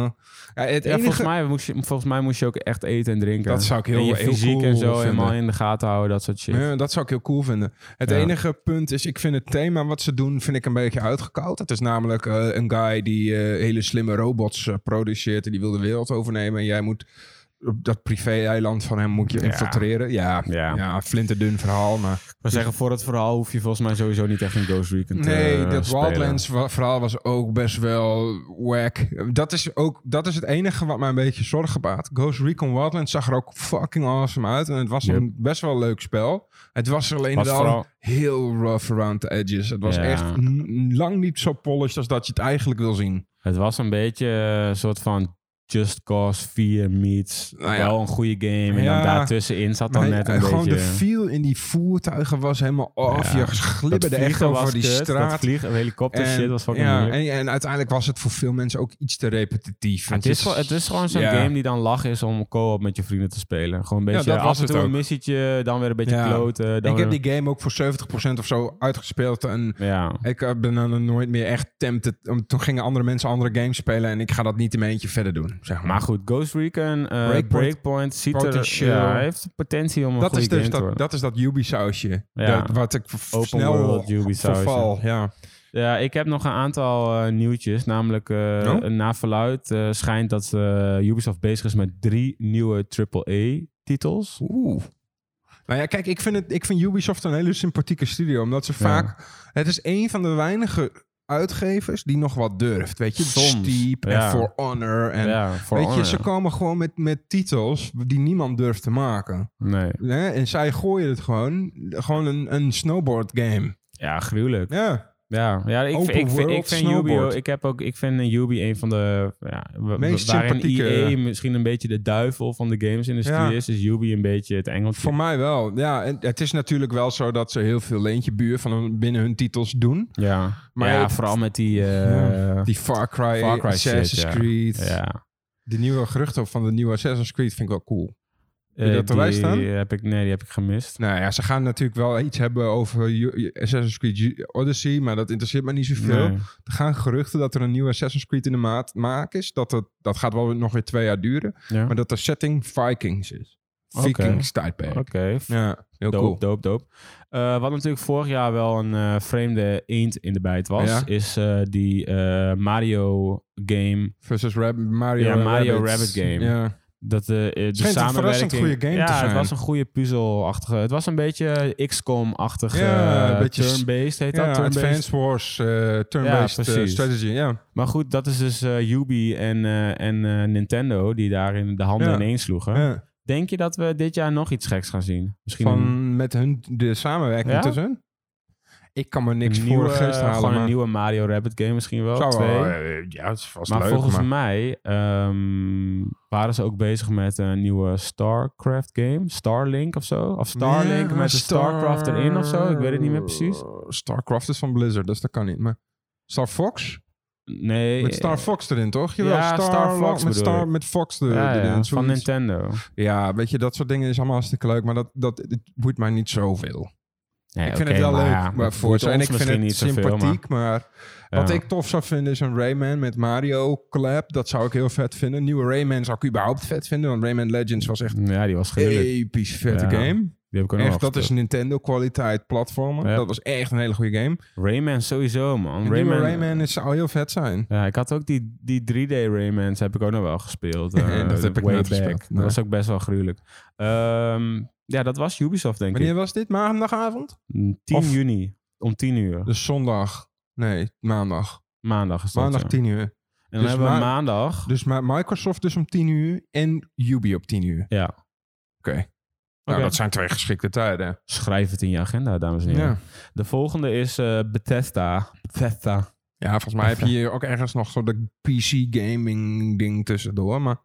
ja, het Ja, enige... volgens, mij moest je, volgens mij moest je ook echt eten en drinken. Dat zou ik heel, en je heel fysiek cool en zo vinden. helemaal in de gaten houden, dat soort shit. Ja, dat zou ik heel cool vinden. Het Ja. enige punt is, ik vind het thema wat ze doen, vind ik een beetje uitgekoud. Het is namelijk eh, een guy die eh, hele slimme robots eh, produceert en die wil de wereld overnemen. En jij moet op dat privé-eiland van hem moet je Ja. infiltreren. Ja, Ja. ja. flinterdun verhaal, maar... Ik wil zeggen, voor het verhaal hoef je volgens mij sowieso niet echt een Ghost Recon te Nee, eh, dat spelen. Wildlands wa- verhaal was ook best wel whack. Dat is, ook, dat is het enige wat mij een beetje zorgen baat. Ghost Recon Wildlands zag er ook fucking awesome uit. En het was Yep. een best wel leuk spel. Het was alleen Was wel vooral- heel rough around the edges. Het was Ja. echt n- lang niet zo polished als dat je het eigenlijk wil zien. Het was een beetje eh, een soort van Just Cause 4 meets Nou ja. wel een goede game. En Ja. dan daartussenin zat dan Maar net eh, een gewoon beetje... de feel in die voertuigen was helemaal off. Ja. Je dat glibberde echt vliegen over was die kut, Dat straat. vliegen, helikopter En- shit was fucking ja, moeilijk. en, en uiteindelijk was het voor veel mensen ook iets te repetitief. Het want is, je- wel- het is gewoon zo'n Ja. game die dan lach is om co-op met je vrienden te spelen. Gewoon een Ja, beetje dat was af en het toe een ook. missietje, dan weer een beetje Ja. kloten. Dan ik heb weer- die game ook voor 70% of zo uitgespeeld. En Ja, ik eh, ben dan nooit meer echt tempted. om- Toen gingen andere mensen andere games spelen. En ik ga dat niet in mijn eentje verder doen. Zeg maar. maar goed, Ghost Recon, eh, Breakpoint, Breakpoint. ziet er, Potentieel. ja, hij heeft potentie om een dat, goede is dus game te dat, worden. dat is dat Ubisoftje. Ja. Dat, wat ik v- Open snel world Ubisoftje. verval. Ja. Ja, ik heb nog een aantal eh, nieuwtjes. Namelijk, eh Oh? na verluid eh, schijnt dat eh, Ubisoft bezig is met drie nieuwe AAA-titels. Oeh. Nou ja, kijk, ik vind, het, ik vind Ubisoft een hele sympathieke studio. Omdat ze vaak... Het is een van de weinige uitgevers die nog wat durft. Weet je, Soms, Steep ja. en For Honor. En Ja, voor weet je, Honor. ze komen gewoon met, met titels die niemand durft te maken. Nee. Hè? En zij gooien het gewoon. Gewoon een, een snowboard game. Ja, gruwelijk. Ja. Ja, ja ik, Open ik, vind, ik world vind Ubi, snowboard. ook- ik heb ook, ik vind eh, Ubi een van de, ja, wa- Meest waarin sympathieke- EA misschien een beetje de duivel van de gamesindustrie Ja. is, is Ubi een beetje het engeltje. Voor mij wel. Ja, en het is natuurlijk wel zo dat ze heel veel leentje buur van hun, binnen hun titels doen. ja, maar Maar ja, het- vooral met die, eh, Ja. Die Far Cry, Far Cry shit, Assassin's ja. Creed. ja. De nieuwe geruchten van de nieuwe Assassin's Creed vind ik wel cool. je Eh, dat erbij die staan? Heb ik, nee, die heb ik gemist. Nou ja, ze gaan natuurlijk wel iets hebben over U- Assassin's Creed U- Odyssey, maar dat interesseert me niet zoveel. Nee. Er gaan geruchten dat er een nieuwe Assassin's Creed in de maat maak is. Dat, het, dat gaat wel nog weer twee jaar duren. Ja. Maar dat de setting Vikings is. Oké. Vikings tijdperk. Oké, Ja, heel doop, cool. doop, doop. Eh, wat natuurlijk vorig jaar wel een eh vreemde eend in de bijt was, Ja. is eh, die eh, Mario game Versus Rab- Mario, Ja, en Mario Rabbids. Rabbit game. Ja. Dat de, eh, de Schijnt een samenwerking... verrassend goede game ja, te het zijn. was een goede puzzelachtige... Het was een beetje XCOM-achtig Ja, een eh, beetje s- turn-based, heet Ja, dat? Turn-based. Advanced Wars, eh, turn-based Ja, eh, precies. strategy. Ja. Maar goed, dat is dus eh, Ubi en, eh, en eh, Nintendo die daarin de handen Ja. ineen sloegen. Ja. Denk je dat we dit jaar nog iets geks gaan zien? Misschien een, Van met hun de samenwerking Ja? tussen hun? Ik kan me niks een nieuwe, voor de geest eh, halen. gewoon een maar nieuwe Mario Rabbit game misschien wel. zou twee. wel, eh, ja, het is vast maar leuk. volgens maar mij ehm, waren ze ook bezig met een nieuwe StarCraft game. Starlink of zo. Of Starlink Ja, met een Star- StarCraft erin of zo. Ik weet het niet meer precies. Starcraft is van Blizzard, dus dat kan niet. Maar Star Fox? Nee. Met Star Fox erin, toch? Jawel, Ja, Star Fox met, bedoel ik. Star, met Fox er- Ja, ja, erin. van zoiets. Nintendo. Ja, weet je, dat soort dingen is allemaal hartstikke leuk, maar dat, dat het boeit mij niet zoveel. ik vind het wel leuk, maar voor en ik vind het sympathiek, maar, wat ik tof zou vinden is een Rayman met Mario collab. Dat zou ik heel vet vinden. Een nieuwe Rayman zou ik überhaupt vet vinden, want Rayman Legends was echt Ja, die was een gruwelijk. episch vette Ja, game. Die heb ik ook nog Echt, dat is gespeeld. Nintendo kwaliteit platformen. Ja. Dat was echt een hele goede game. Rayman sowieso, man. Een Rayman, Rayman, Rayman is, zou heel vet zijn. Ja, ik had ook die, die 3D Raymans heb ik ook nog wel gespeeld. Ja, eh, dat heb ik way nooit back. gespeeld, Dat nee. was ook best wel gruwelijk. Ehm, ja, dat was Ubisoft, denk Wanneer was dit? Maandagavond? ik. 10 Of- Mm, juni, om 10 uur. Dus zondag. Nee, maandag. Maandag is dat, Maandag ja. 10 uur. En dan dus hebben we ma- maandag... Dus maar Microsoft dus om 10 uur en Ubi op 10 uur. ja. Oké. Oké. Nou, dat zijn twee geschikte tijden. Schrijf het in je agenda, dames en Ja. heren. ja. De volgende is eh Bethesda. Bethesda. volgens mij heb je hier ook ergens nog zo de PC gaming ding tussendoor, maar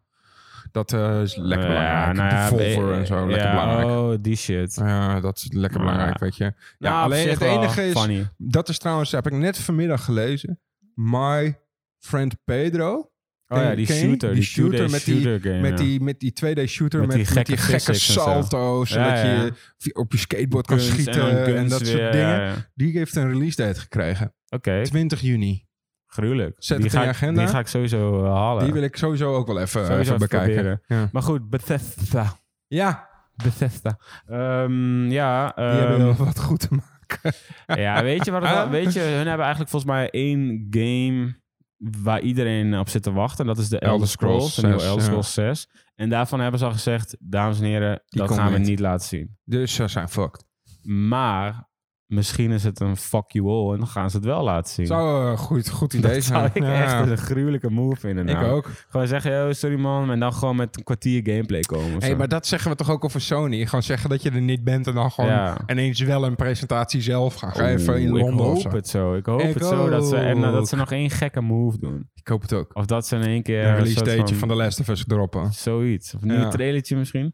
Dat eh, is Ja, lekker belangrijk. nou ja, Devolver eh, en zo, ja, lekker belangrijk. Oh, die shit. Ja, dat is lekker Ja. belangrijk, weet je. Ja, Nou, op alleen zich het wel enige is- Funny. Dat is trouwens, heb ik net vanmiddag gelezen. My friend Pedro. Oh ja, En die ken je shooter. Die, shooter, met die shooter game. met, ja. die, met die 2D shooter Met met, die met gekke die gekke physics en zo. salto's. Ja, zodat ja. je v- op je skateboard kan Guns en schieten dan en, guns dat soort weer, dingen. ja, ja. Die heeft een release date gekregen. Oké, 20 juni. gruwelijk. Zet die het in ga je ik- agenda. Die ga ik sowieso eh, halen. Die wil ik sowieso ook wel even, Sowieso even even bekijken. proberen. Ja. Maar goed, Bethesda. ja, Bethesda. Ehm, ja, die hebben ehm, wel wat goed te maken. ja, weet je wat het Ah. wel- Weet je, hun hebben eigenlijk volgens mij één game waar iedereen op zit te wachten. En dat is de Elder Elder Scrolls Scrolls, de nieuwe 6, Elder ja. Scrolls 6. En daarvan hebben ze al gezegd, dames en heren, Die dat komt gaan niet. we niet laten zien. Dus ze zijn fucked. Maar misschien is het een fuck you all en dan gaan ze het wel laten zien. Zou een eh, goed, goed idee dat zou zijn. ik Ja, echt een gruwelijke move vinden. ik nou. ook. Gewoon zeggen, yo, sorry man. En dan gewoon met een kwartier gameplay komen. of Hey, zo. maar dat zeggen we toch ook over Sony? Gewoon zeggen dat je er niet bent en dan gewoon Ja. ineens wel een presentatie zelf gaan Oeh, geven in ik Londen hoop of zo. het zo. Ik hoop Ik het zo dat ze, en, eh, ook. dat ze nog één gekke move doen. Ik hoop het ook. Of dat ze in één keer... een een release soort dateje van... The Last of Us droppen. Zoiets. Of een nieuw Ja. trailertje misschien.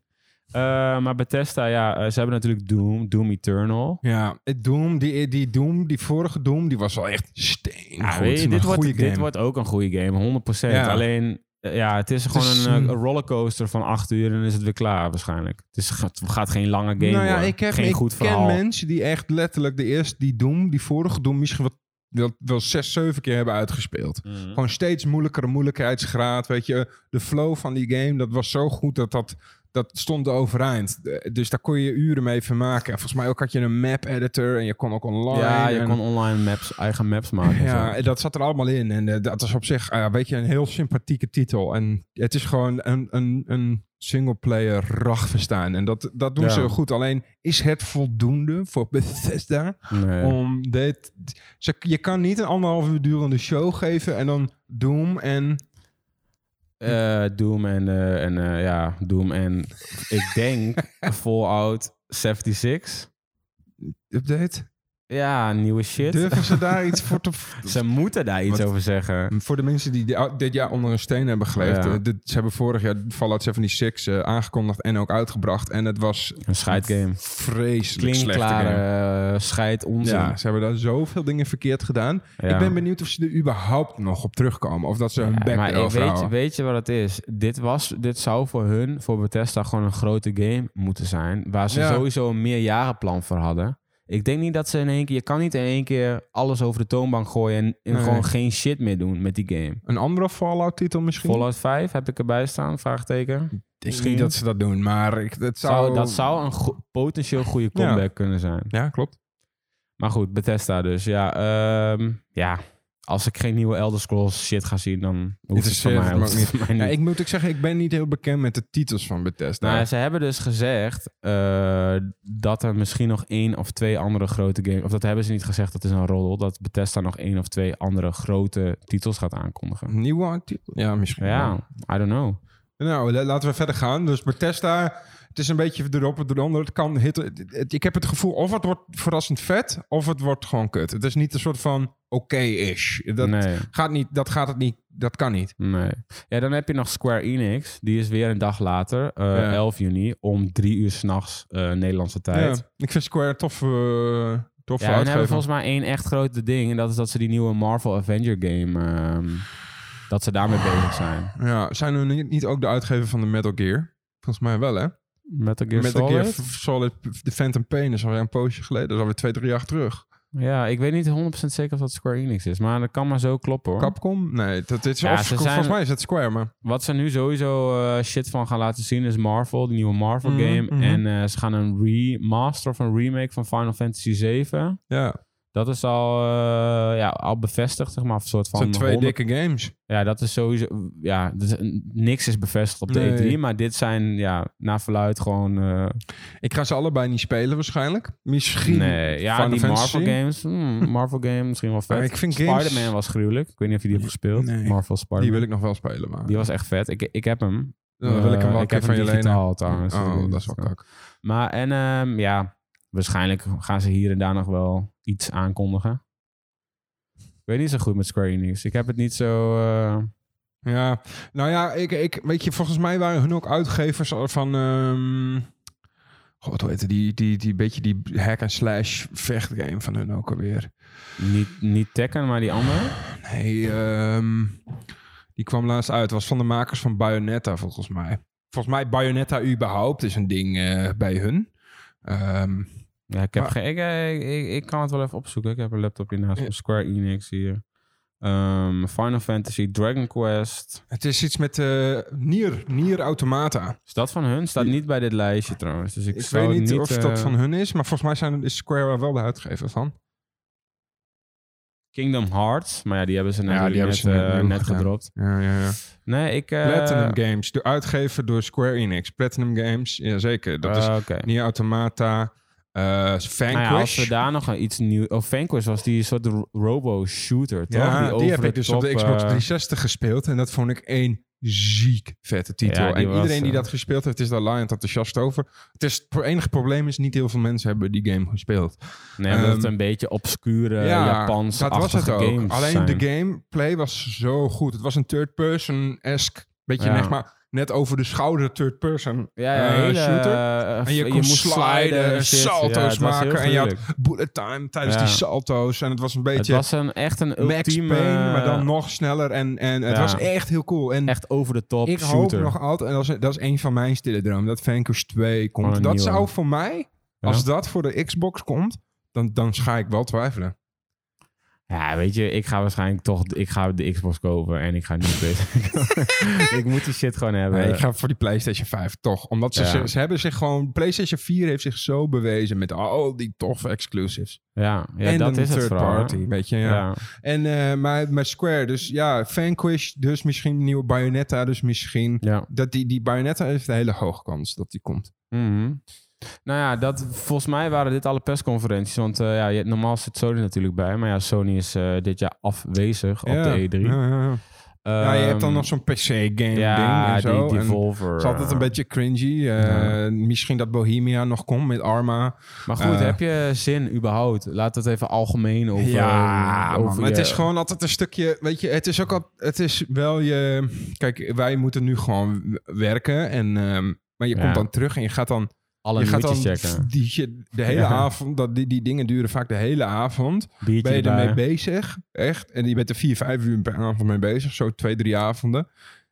Eh, maar Bethesda, ja, eh, ze hebben natuurlijk Doom. Doom Eternal. Ja, het Doom, die, die Doom, die vorige Doom, die was wel echt steen. Ja, Ah, weet je, dit, goede wordt, game. dit wordt ook een goede game, 100%. Ja. Alleen, eh, ja, het is gewoon is een, eh, een- een rollercoaster van acht uur en dan is het weer klaar waarschijnlijk. Het is, gaat, gaat geen lange game nou ja, worden. ik, heb, geen ik goed ken verhaal. mensen die echt letterlijk de eerste, die Doom, die vorige Doom, misschien wel, wel, wel zes, zeven keer hebben uitgespeeld. Mhm. Gewoon steeds moeilijkere moeilijkheidsgraad, weet je. De flow van die game, dat was zo goed dat dat, dat stond overeind. De- Dus daar kon je uren mee vermaken. En Volgens mij ook had je een map-editor en je kon ook online. Ja, je en- kon online maps, eigen maps maken. en zo. Ja, en dat zat er allemaal in. En eh, dat is op zich eh, weet je, een heel sympathieke titel. En het is gewoon een, een, een singleplayer ragverstijn. En dat, dat doen Ja. ze goed. Alleen is het voldoende voor Bethesda Nee. om dit... Ze, je kan niet een anderhalf uur durende show geven en dan Doom en... Eh, Doom en, eh, en eh, ja, Doom en ik denk Fallout 76. Update? Ja, nieuwe shit. Durven ze daar iets voor te... Ze moeten daar iets Wat- over zeggen. Voor de mensen die di- dit jaar onder een steen hebben geleefd. Ja. eh, dit- ze hebben vorig jaar Fallout 76 eh, aangekondigd en ook uitgebracht. En het was Een scheidgame. vreselijk slechte game. Klinkklare eh scheid onzin. Ja, Ja, ze hebben daar zoveel dingen verkeerd gedaan. Ik ben benieuwd of ze er überhaupt nog op terugkomen. Of dat ze hun Ja, bek maar ik erover weet, houden. weet je wat het is? Dit, was, dit zou voor hun, voor Bethesda, gewoon een grote game moeten zijn. Waar ze Ja. sowieso een meerjarenplan voor hadden. Ik denk niet dat ze in één keer... Je kan niet in één keer alles over de toonbank gooien... en, en Nee. gewoon geen shit meer doen met die game. Een andere Fallout-titel misschien? Fallout 5 heb ik erbij staan, vraagteken. Ik denk misschien. niet dat ze dat doen, maar ik, het zou... Zou, dat zou een go- potentieel goede Ja. comeback kunnen zijn. Ja, klopt. Maar goed, Bethesda dus. Ja, ehm, ja, als ik geen nieuwe Elder Scrolls shit ga zien, dan hoeft het voor Interesseert mij, het me hoeft ook het voor mij Ja, niet. ik moet ook zeggen, ik ben niet heel bekend met de titels van Bethesda. Nou, ze hebben dus gezegd eh, dat er misschien nog één of twee andere grote games... Of dat hebben ze niet gezegd, dat is een roddel. Dat Bethesda nog één of twee andere grote titels gaat aankondigen. Nieuwe titel? Ja, misschien. Ja, I don't know. Nou, la- laten we verder gaan. Dus Bethesda, het is een beetje erop en eronder. Het kan hitten. Het- het- Ik heb het gevoel, of het wordt verrassend vet, of het wordt gewoon kut. Het is niet een soort van oké-ish. Dat, nee. gaat niet, dat gaat het niet, dat kan niet. Nee. Ja, dan heb je nog Square Enix. Die is weer een dag later, eh, Ja. 11 juni, om drie uur s'nachts nachts eh, Nederlandse tijd. Ja, ik vind Square tof, eh tof Ja, en hebben volgens mij één echt grote ding. En dat is dat ze die nieuwe Marvel Avenger game, ehm, dat ze daarmee bezig zijn. Ja, zijn we niet, niet ook de uitgever van de Metal Gear? Volgens mij wel, hè? Metal Gear Metal Solid? Gear F- Solid, de Phantom Pain is alweer een poosje geleden. Dat is alweer twee, drie jaar terug. Ja, ik weet niet 100% zeker of dat Square Enix is. Maar dat kan maar zo kloppen hoor. Capcom? Nee, dat is, Oh. Ja, of- ze volgens zijn- mij is het Square, maar... Wat ze nu sowieso eh, shit van gaan laten zien is Marvel, die nieuwe Marvel Mhm, game. mhm. En eh, ze gaan een remaster of een remake van Final Fantasy 7. Ja, Dat is al, eh, ja, al bevestigd, zeg maar. Een soort het van zijn twee 100 dikke games. Ja, dat is sowieso... Ja, dus, eh, niks is bevestigd op de Nee. E3. Maar dit zijn, ja, naar verluid gewoon... eh, Ik ga ze allebei niet spelen waarschijnlijk. Misschien nee, ja, Final die Fantasy. Marvel games. hmm, Marvel game, misschien wel Maar vet. ik vind games- Spider-Man was gruwelijk. Ik weet niet of je die hebt gespeeld. Nee. Marvel Die Spider-Man. wil Die, ik nog wel spelen, maar... was echt vet. Ik, ik heb hem. dan wil ik hem Eh, wel een heb keer van je lenen. digitaal trouwens. dus Oh, dat is wel kak. Maar en ehm, ja, waarschijnlijk gaan ze hier en daar nog wel iets aankondigen. Ik weet niet zo goed met Square Enix. Ik heb het niet zo... eh, Ja, nou ja, ik, ik, weet je, volgens mij waren hun ook uitgevers van... ehm God, hoe heette die, die, die beetje die hack en slash vechtgame van hun ook alweer. Niet, niet Tekken, maar die andere. Nee, ehm, die kwam laatst uit. Was van de makers van Bayonetta, volgens mij. Volgens mij Bayonetta überhaupt is een ding eh, bij hun. Ehm, Ja, ik, heb Maar- geen, ik, eh, ik, ik, ik kan het wel even opzoeken. Ik heb een laptop hiernaast Ja. van Square Enix hier. Ehm, Final Fantasy, Dragon Quest. het is iets met eh Nier, Nier Automata. Is dat van hun? Staat niet bij dit lijstje trouwens. Dus ik, Ik, zou weet het niet, of dat eh, van hun is, maar volgens mij zijn, is Square wel de uitgever van. Kingdom Hearts. Maar ja, die hebben ze die natuurlijk hebben net, ze net eh, nieuw net gedaan. gedropt. Ja, ja, ja. Nee, ik... eh, Platinum Games, de uitgever door Square Enix. Platinum Games, jazeker. Dat is eh, oké. Nier Automata, eh Nou ja, als we Vanquish. daar nog een iets nieuws... Of Vanquish was die soort ro- robo-shooter, toch? Ja, die, over heb ik dus op de top, Xbox eh, 360 gespeeld. En dat vond ik één ziek vette titel. Ja, die en was, iedereen die eh, dat gespeeld heeft, is daar laaiend enthousiast over. Het, is, het enige probleem is, niet heel veel mensen hebben die game gespeeld. Nee, omdat het Ehm, een beetje obscure Japanse dat was het ook. games Alleen zijn. de gameplay was zo goed. Het was een third-person-esque, beetje Ja. net maar net over de schouder third-person ja, ja, eh, hele, shooter. eh, En je kon moest sliden, en shit. salto's Ja, het was maken heel en je had gruwelijk. bullet time tijdens Ja. die salto's. En het was een Het beetje was een, echt een Max ultieme... Payne, maar dan nog sneller. En, en het Ja. was echt heel cool. En Echt over de top ik hoop shooter. nog altijd, en dat is, dat is een van mijn stille dromen, dat Vanquish 2 komt. Oh, een dat nieuwe. zou voor mij, Ja. als dat voor de Xbox komt, dan, dan ga ik wel twijfelen. Ja, weet je, ik ga waarschijnlijk toch... Ik ga de Xbox kopen en ik ga niet ik moet die shit gewoon hebben. Nee, ik ga voor die PlayStation 5 toch. Omdat ze, Ja. ze, ze hebben zich gewoon... PlayStation 4 heeft zich zo bewezen met al die toffe exclusives. Ja, ja en dat een is het third vooral. hè. party, weet je. Ja. Ja. En, eh, maar, maar Square, dus ja, Vanquish, dus misschien een nieuwe Bayonetta, dus misschien... ja. Dat die, die Bayonetta heeft een hele hoge kans dat die komt. Mhm. Nou ja, dat, volgens mij waren dit alle persconferenties. Want eh, ja, je- normaal zit Sony natuurlijk bij. Maar ja, Sony is eh, dit jaar afwezig op Ja. de E3. Ja, ja, ja. ja, je hebt dan Ehm, nog zo'n PC-game ding ja, en zo. die en Devolver. het is altijd een beetje cringy. Eh, Ja. Misschien dat Bohemia nog komt met Arma. Maar goed, eh, heb je zin überhaupt? Laat het even algemeen over... ja, over man, maar het je- is gewoon altijd een stukje. Weet je, het is ook al. Het is wel je. Kijk, wij moeten nu gewoon w- werken. En, ehm, maar je Ja. komt dan terug en je gaat dan. Alle je gaat dan nieuwtjes checken. Die, shit- de hele Ja. avond. Dat, die, die dingen duren vaak de hele avond. Biertje Ben je erbij. ermee bezig? Echt? En je bent er vier, vijf uur per avond mee bezig. Zo twee, drie avonden.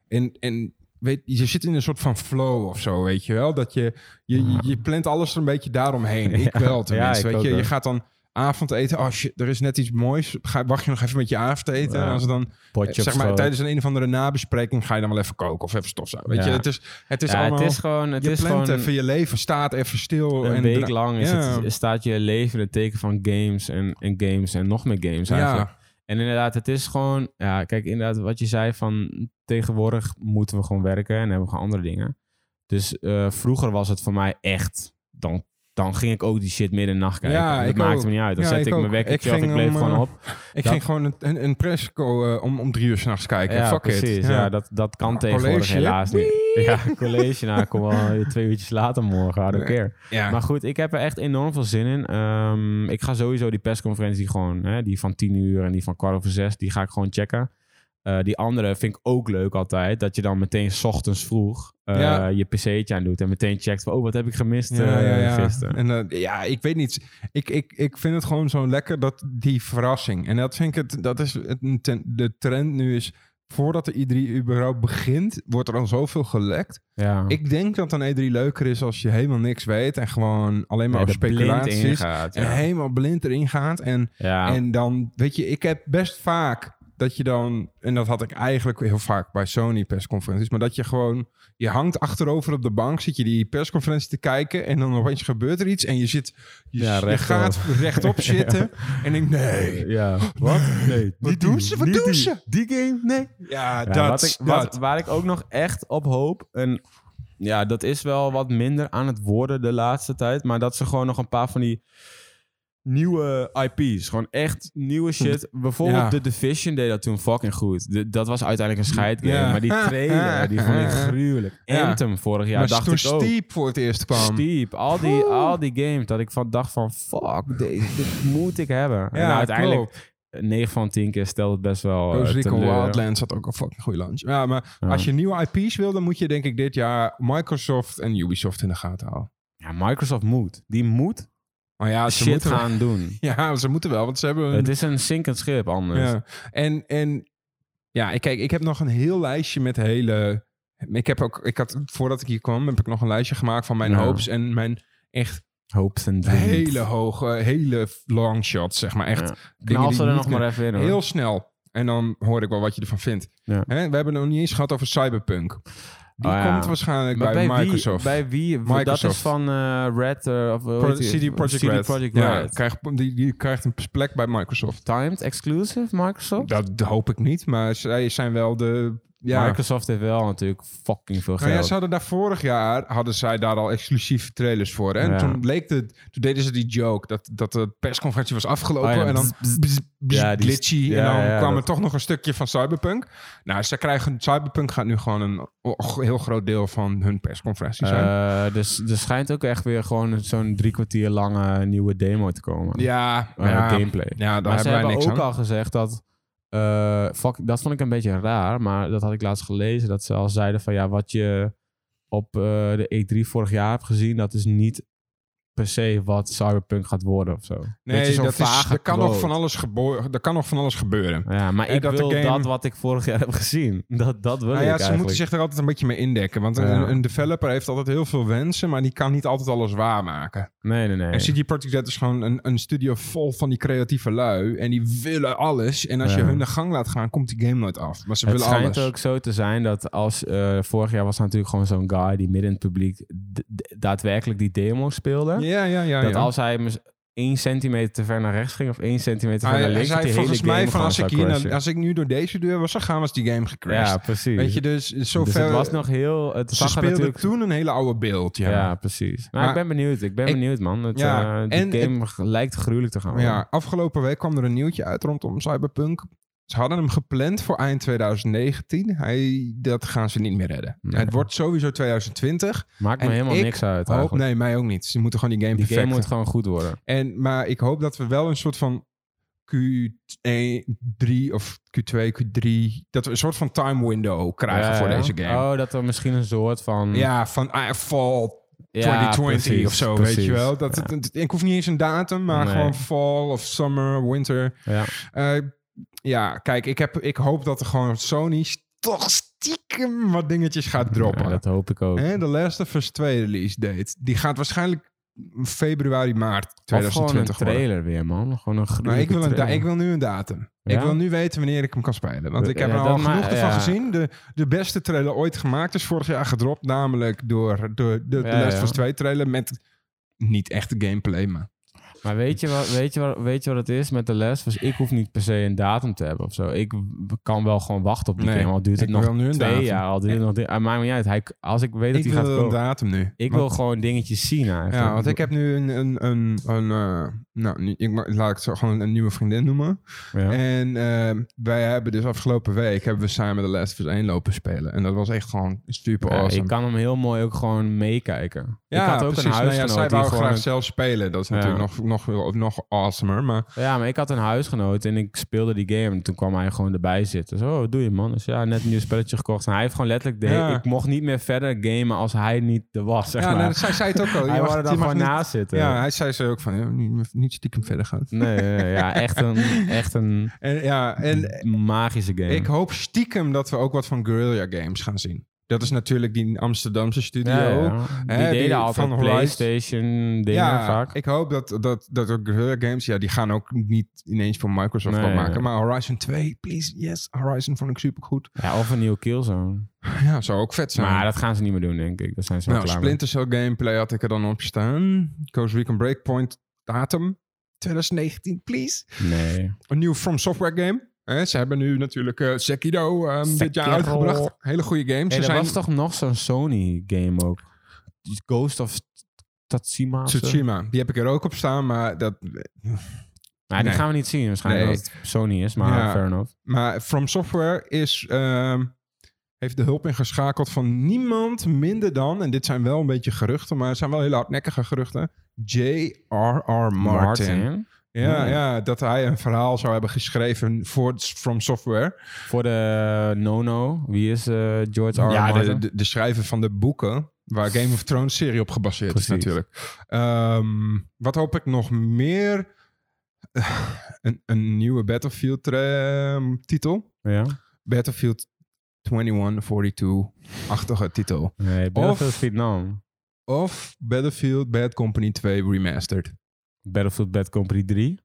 En, en weet, je zit in een soort van flow of zo, weet je wel? Dat je, je, je, je plant alles er een beetje daaromheen. Ik Ja. wel Ja, ik tenminste, ook weet je? wel. Je gaat dan avondeten. Oh shit, er is net iets moois. Ga, wacht je nog even met je avondeten? Ja. En als het dan, Potje op zeg maar, schoot. tijdens een, een of andere nabespreking ga je dan wel even koken of even stofzuigen. Weet Ja. je, het is, het is ja, allemaal... het is gewoon... Het je is plant gewoon even je leven, staat even stil. een en week dra- lang is Ja. het, staat je leven in het teken van games en, en games en nog meer games eigenlijk. Ja, En inderdaad, het is gewoon... Ja, kijk, inderdaad, wat je zei van... Tegenwoordig moeten we gewoon werken en hebben we gewoon andere dingen. Dus eh, vroeger was het voor mij echt... Dan, dan ging ik ook die shit midden in de nacht kijken. Ja, dat ik maakte ook. me niet uit. Dan Ja, zette ik ik, mijn ook. wekkertje Ik of ik ging bleef om, gewoon eh, op. Ik Dat- ging gewoon een, een, een persco eh, om, om drie uur s'nachts kijken. Ja, Fuck precies. it. Ja. dat, dat kan Ja, tegenwoordig college, helaas hè? niet. Ja, college. Nou, kom wel twee uurtjes later morgen. I don't Nee. care. Ja. Maar goed, ik heb er echt enorm veel zin in. Ehm, ik ga sowieso die persconferentie gewoon... Hè, die van tien uur en die van kwart over zes... die ga ik gewoon checken. Eh, die andere vind ik ook leuk altijd. Dat je dan meteen 's ochtends vroeg eh, Ja. je pc'tje aan doet. En meteen checkt van... Oh, wat heb ik gemist ja, ja, eh, ja. gisteren? En, eh, ja, ik weet niet. Ik, ik, ik vind het gewoon zo lekker dat die verrassing. En dat vind ik het. Dat is het, ten- de trend nu is. Voordat de E3 überhaupt begint, wordt er al zoveel gelekt. Ja. Ik denk dat een E3 leuker is als je helemaal niks weet en gewoon alleen maar Ja, op er blind speculaties. ingaat, En Ja. helemaal blind erin gaat. En Ja. En dan, weet je, ik heb best vaak dat je dan, en dat had ik eigenlijk heel vaak bij Sony persconferenties, maar dat je gewoon, je hangt achterover op de bank, zit je die persconferentie te kijken en dan opeens gebeurt er iets en je zit, je, Ja, je rechtop. gaat rechtop zitten en denk, nee. Ja. Wat? Nee. Wat doen ze? Wat niet doen die. ze? Die game? Nee. Ja, Ja, dat, wat ik, dat. wat, waar ik ook nog echt op hoop. En ja, dat is wel wat minder aan het worden de laatste tijd. Maar dat ze gewoon nog een paar van die nieuwe IP's. Gewoon echt nieuwe shit. Bijvoorbeeld Hm. The Ja. Division deed dat toen fucking goed. De- dat was uiteindelijk een scheidgame. Ja. Maar die trailer, die vond ik gruwelijk. Ja. Anthem vorig jaar maar dacht toen ik ook. Steep voor het eerst kwam. Steep, al die, Oeh. al die games dat ik van dacht van fuck, deze, dit moet ik hebben. en nou, Ja, uiteindelijk 9 van 10 keer stelt het best wel eh, Coast Recon teleur. Wildlands had ook een fucking goede launch. Ja, maar Ja. als je nieuwe IP's wil, dan moet je denk ik dit jaar Microsoft en Ubisoft in de gaten houden. Ja, Microsoft moet. Die moet Maar ja, ze shit moeten wel- gaan doen. Ja, ze moeten wel, want ze hebben... een- Het is een zinkend schip anders. ja. En, en ja, ik- kijk, ik heb nog een heel lijstje met hele... Ik heb ook, ik had, voordat ik hier kwam, heb ik nog een lijstje gemaakt van mijn Ja. hopes en mijn echt Hopes en dreams. hele hoge, hele long shots, zeg maar. Echt Ja. dingen Knal die ze er niet nog maar even in. hoor. Heel snel. En dan hoor ik wel wat je ervan vindt. Ja. Hè? We hebben het nog niet eens gehad over Cyberpunk. Die Oh ja. komt waarschijnlijk Maar bij, Wie, Microsoft. bij wie? Dat is Microsoft. van eh, Red eh, of hoe Pro- heet die? CD Projekt CD Red. Projekt Ja, Red. krijgt- die, die krijgt een plek bij Microsoft. Timed exclusive Microsoft? Dat hoop ik niet, maar zij zijn wel de... Ja, Microsoft heeft wel natuurlijk fucking veel Nou geld. ja, ze hadden daar vorig jaar hadden zij daar al exclusieve trailers voor. hè? En Ja. toen bleek het, toen deden ze die joke dat, dat de persconferentie was afgelopen Oh ja, en dan bzz, bzz, bzz, Ja, die- glitchy. ja, en dan ja, kwam dat- er toch nog een stukje van Cyberpunk. Nou, ze krijgen Cyberpunk gaat nu gewoon een o- heel groot deel van hun persconferentie zijn. Eh, dus er schijnt ook echt weer gewoon zo'n drie kwartier lange nieuwe demo te komen. ja, Eh, ja, Gameplay. ja, daar maar ze hebben wij hebben niks ook aan. al gezegd dat... eh, fuck, dat vond ik een beetje raar, maar dat had ik laatst gelezen. Dat ze al zeiden van ja, wat je op eh, de E3 vorig jaar hebt gezien... dat is niet per se wat Cyberpunk gaat worden of zo. Beetje Nee, zo'n dat is, vage er, kan nog quote. van alles gebo- er kan nog van alles gebeuren. Ja, maar En ik dat de wil game- dat wat ik vorig jaar heb gezien. Dat, dat wil Nou ik ja, ze eigenlijk. moeten zich er altijd een beetje mee indekken. Want een, Ja. een developer heeft altijd heel veel wensen, maar die kan niet altijd alles waarmaken. Nee, nee, nee. En CD Projekt Red is gewoon een, een studio vol van die creatieve lui. En die willen alles. En als je Ja. hun de gang laat gaan, komt die game nooit af. Maar ze het willen schijnt alles. ook zo te zijn dat als... eh, vorig jaar was er natuurlijk gewoon zo'n guy die midden in het publiek... d- d- daadwerkelijk die demo speelde. ja, ja, ja. dat Ah, ja. als hij mis- één centimeter te ver naar rechts ging... of één centimeter Ah, hij, ver naar hij links... dat zei die volgens hele game mij van gewoon als ik, zou hier naar- crashen. als ik nu door deze deur was gegaan, was die game gecrashed. Ja, precies. Weet je, dus dus zover... het was nog heel... Het ze zag er speelden natuurlijk... toen een hele oude beeld, Ja. ja. ja. precies. Nou, Maar- ik ben benieuwd. Ik ben Ik- benieuwd, man. Het, Ja, eh, die en game g- lijkt gruwelijk te gaan worden. ja, afgelopen week kwam er een nieuwtje uit rondom Cyberpunk. Ze hadden hem gepland voor eind 2019. Hij, dat gaan ze niet meer redden. Nee. Het wordt sowieso 2020. Maakt me En helemaal ik niks uit, Hoop, eigenlijk. nee, mij ook niet. Ze moeten gewoon die game Die game perfecten. moet gewoon goed worden. En, maar ik hoop dat we wel een soort van Q1, 3 of Q2, Q3... Dat we een soort van time window krijgen Ja, voor ja. deze game. Oh, dat er misschien een soort van... Ja, van ah, fall Ja, 2020 precies, of zo, weet precies. je wel. Dat, het- het- ik hoef niet eens een datum, maar Nee. gewoon fall of summer, winter. Ja. Eh, ja, kijk, ik, heb, ik hoop dat er gewoon Sony toch stiekem wat dingetjes gaat droppen. Ja, dat hoop ik ook. Hè, de Last of Us 2 release date. Die gaat waarschijnlijk februari, maart Of gewoon een 2020 worden. trailer weer, man. Gewoon een Maar Nou, ik gruwelijke wil, een da- trailer. ik wil nu een datum. Ja? Ik wil nu weten wanneer ik hem kan spelen. Want ik heb Ja, er al dat ma- genoeg ervan ja. gezien. De, de beste trailer ooit gemaakt is vorig jaar gedropt. Namelijk door de, de, de Ja, Last ja. of Us 2 trailer met niet echt gameplay. Maar Maar weet je, wat, weet, je wat, weet je wat het is met de les? Dus ik hoef niet per se een datum te hebben of zo. Ik w- kan wel gewoon wachten op die Nee, game. Al duurt het ik nog wil nu een twee datum. jaar. Al duurt het nog drie- ah, maakt me niet uit. Hij, als ik weet dat ik hij wil gaat een komen. datum nu. ik Want- wil gewoon dingetjes zien eigenlijk. Ja, want ik heb nu een... een, een, een eh, nou, nu- ik, ma- laat ik het gewoon een nieuwe vriendin noemen. Ja. En eh, wij hebben dus afgelopen week... hebben we samen de Last of Us 1 lopen spelen. En dat was echt gewoon super Ja, awesome. ik kan hem heel mooi ook gewoon meekijken. ik had ook een Nou ja, huisgenoot zij die wou gewoon graag een- zelf spelen. Dat is Ja. natuurlijk nog, nog, nog awesomer. Maar Ja, maar ik had een huisgenoot en ik speelde die game. En toen kwam hij gewoon erbij zitten. Zo, wat doe je man? Dus ja, net een nieuw spelletje gekocht. En hij heeft gewoon letterlijk... De Ja. Ik mocht niet meer verder gamen als hij niet er was, zeg ja, maar. nee, zij zei het ook al. Je hij mag- wou er je dan mag gewoon eh. niet- naast zitten. Ja, hij zei ze ook van, ja, niet, niet stiekem verder gaan. Nee, nee, nee, ja, echt een, echt een En, ja, en magische game. ik hoop stiekem dat we ook wat van Guerrilla Games gaan zien. Dat is natuurlijk die Amsterdamse studio. ja, ja. Die Hè, deden die altijd van Horizon. PlayStation dingen Ja, vaak. ik hoop dat, dat, dat ook Guerrilla Games, ja, die gaan ook niet ineens voor Microsoft Nee, gaan maken. nee. Maar Horizon 2, please, yes. Horizon vond ik supergoed. Ja, of een nieuwe Killzone. Ja, zou ook vet zijn. Maar dat gaan ze niet meer doen, denk ik. Dat zijn ze wel Nou, klaar Splinter Cell gameplay had ik er dan op staan. Coast Recon Breakpoint, datum 2019, please. mee. Nee. Een nieuw From Software game. Eh, ze hebben nu natuurlijk eh Sekiro ehm, dit jaar Sekiro. uitgebracht. Hele goede games. Hey, Ze er zijn was toch nog zo'n Sony-game ook? Die Ghost of Tatsima? of zo? Tsushima. Die heb ik er ook op staan, maar, dat, Nou, die Nee. gaan we niet zien waarschijnlijk, Nee. omdat het Sony is, maar Ja. fair enough. maar From Software is, ehm, heeft de hulp ingeschakeld van niemand minder dan, en dit zijn wel een beetje geruchten, maar het zijn wel hele hardnekkige geruchten, J.R.R. Martin. Martin. Ja, Hmm. ja, dat hij een verhaal zou hebben geschreven voor From Software. Voor de Nono, wie is eh, George R. R. Ja, de, Martin? de, de schrijver van de boeken. Waar Game of Thrones serie op gebaseerd Precies. is natuurlijk. Ehm, wat hoop ik nog meer? een, een nieuwe Battlefield ehm, titel. ja. Battlefield 2142-achtige titel. Nee, Battlefield Vietnam. Of Battlefield Bad Company 2 Remastered. Battlefield Bad Company 3.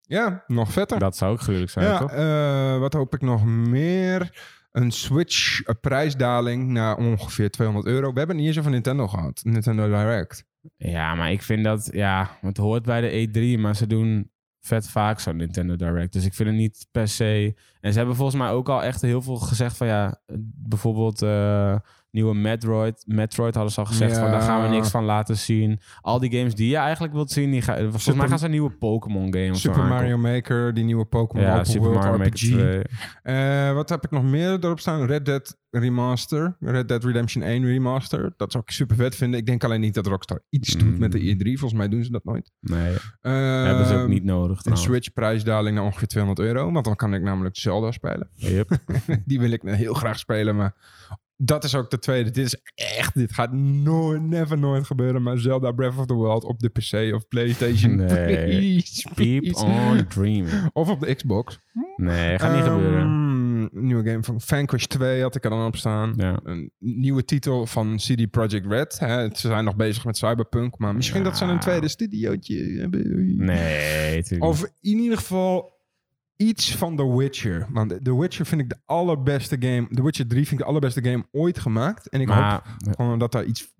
Ja, nog vetter. Dat zou ook gruwelijk zijn, Ja, toch? eh, wat hoop ik nog meer? Een Switch eh, prijsdaling naar ongeveer 200 euro. We hebben het niet eens over Nintendo gehad. Nintendo Direct. Ja, maar ik vind dat... Ja, het hoort bij de E3, maar ze doen vet vaak zo'n Nintendo Direct. Dus ik vind het niet per se... En ze hebben volgens mij ook al echt heel veel gezegd van... Ja, bijvoorbeeld eh, nieuwe Metroid. Metroid hadden ze al gezegd van... Ja. Daar gaan we niks van laten zien. Al die games die je eigenlijk wilt zien... Die ga, eh, volgens Super- mij gaan ze een nieuwe Pokémon game of zo Super aankomen. Mario Maker, die nieuwe Pokémon Ja, Open Super World Mario Maker RPG. 2. Eh, wat heb ik nog meer erop staan? Red Dead Remaster. Red Dead Redemption 1 Remaster. Dat zou ik super vet vinden. Ik denk alleen niet dat Rockstar iets doet Mm. met de E3. Volgens mij doen ze dat nooit. Nee, Eh, hebben ze ook niet nodig Een trouwens. Switch prijsdaling naar ongeveer 200 euro. Want dan kan ik namelijk Zelda spelen. Yep. Die wil ik heel graag spelen, maar dat is ook de tweede. Dit is echt, dit gaat nooit, never nooit gebeuren. Maar Zelda Breath of the Wild op de PC of PlayStation. Nee. Please, Keep please. on dreaming. Of op de Xbox. Nee, gaat niet Ehm, gebeuren. Nieuwe game van Vanquish 2 had ik er dan op staan. Ja. Een nieuwe titel van CD Projekt Red. Hè, ze zijn nog bezig met Cyberpunk, maar misschien dat ze een Ja. tweede studiootje hebben. Nee, natuurlijk Of in ieder geval iets van The Witcher. Want The Witcher vind ik de allerbeste game. The Witcher 3 vind ik de allerbeste game ooit gemaakt. En ik niet. Maar hoop gewoon dat daar iets.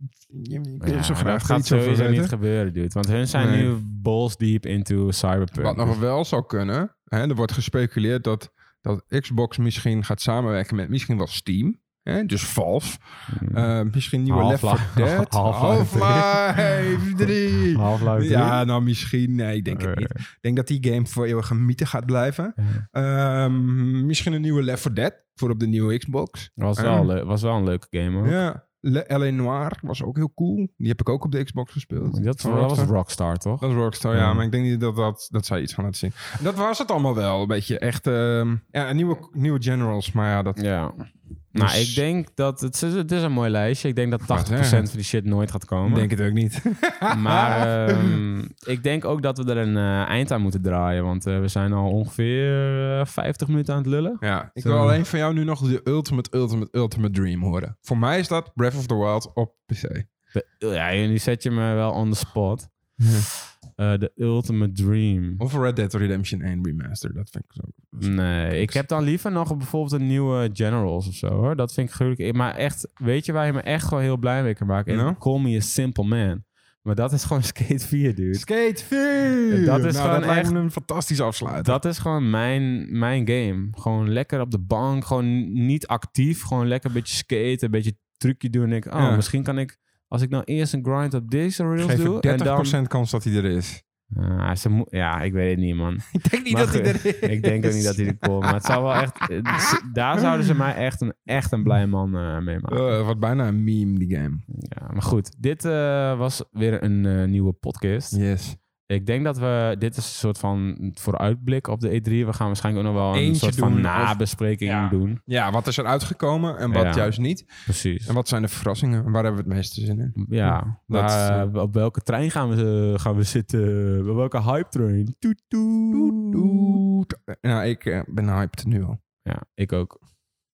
Ik wil ja, zo dat graag er gaat iets over sowieso niet weten. gebeuren, dude. Want hun zijn Nee. nu balls deep into cyberpunk. Wat nog wel zou kunnen. Hè, er wordt gespeculeerd dat, dat Xbox misschien gaat samenwerken met misschien wel Steam. Hè, dus Valve. Hmm. Eh, misschien nieuwe Left 4 Half-Life- Dead. Half-Life Half-Life 3. Half-Life Ja, nou misschien. Nee, ik denk het niet. Ik denk dat die game voor eeuwig een mythe gaat blijven. Ehm, misschien een nieuwe Left 4 Dead voor op de nieuwe Xbox. was, Eh. wel leu- was wel een leuke game, hoor. Ja, Le L.A. Noir was ook heel cool. Die heb ik ook op de Xbox gespeeld. Dat, Van dat was Rockstar. Rockstar, toch? Dat is Rockstar, ja. Ja. Maar ik denk niet dat, dat, dat zij iets gaan laten zien. Dat was het allemaal wel, een beetje. Echt, ehm, ja, een nieuwe, nieuwe Generals, maar ja, dat... Ja. Nou, Dus- ik denk dat... Het is, het is een mooi lijstje. Ik denk dat 80% zeggen. van die shit nooit gaat komen. het ook niet. Maar ehm, ik denk ook dat we er een eh, eind aan moeten draaien. Want eh, we zijn al ongeveer eh, 50 minuten aan het lullen. Ja, ik Zo. wil alleen van jou nu nog de ultimate, ultimate, ultimate dream horen. Voor mij is dat Breath of the Wild op PC. De, oh ja, nu zet je me wel on the spot. Eh, De ultimate dream. Of Red Dead Redemption 1 Remaster, dat vind ik dus zo. Nee, ik heb dan liever nog bijvoorbeeld een nieuwe Generals of zo hoor. Dat vind ik gruwelijk. Maar echt, weet je waar je me echt gewoon heel blij mee kan maken? Nou? Call me a simple man. Maar dat is gewoon Skate 4, dude. Skate 4! Dat is nou, gewoon dat lijkt echt- me een fantastisch afsluiten. Dat is gewoon mijn, mijn game. Gewoon lekker op de bank. Gewoon niet actief. Gewoon lekker een beetje skaten. Een beetje trucje doen. En ik, oh, Ja. misschien kan ik... Als ik nou eerst een grind op deze rails Geef doe... ik 30% en dan, kans dat hij er is. Ah, ze moet- ja, ik weet het niet, man. Ik denk niet Maar dat hij er is. Ik denk ook niet dat hij Dus- er komt. Maar het zou wel echt... eh, z- Daar zouden ze mij echt een, echt een blij man eh, mee maken. Eh, wordt bijna een meme, die game. Ja, maar goed. Dit eh, was weer een eh, nieuwe podcast. Yes. Ik denk dat we... Dit is een soort van vooruitblik op de E3. We gaan waarschijnlijk ook nog wel een Eentje soort doen van of- nabespreking Ja. doen. Ja, wat is er uitgekomen en wat Ja. juist niet? Precies. En wat zijn de verrassingen? Waar hebben we het meeste zin in? Ja, Dat is, eh, waar- op welke trein gaan we, eh, gaan we zitten? Op welke hype train? Toet, toet. Nou, ik eh, ben hyped nu al. Ja, ik ook.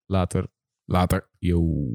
Later. Later. Yo.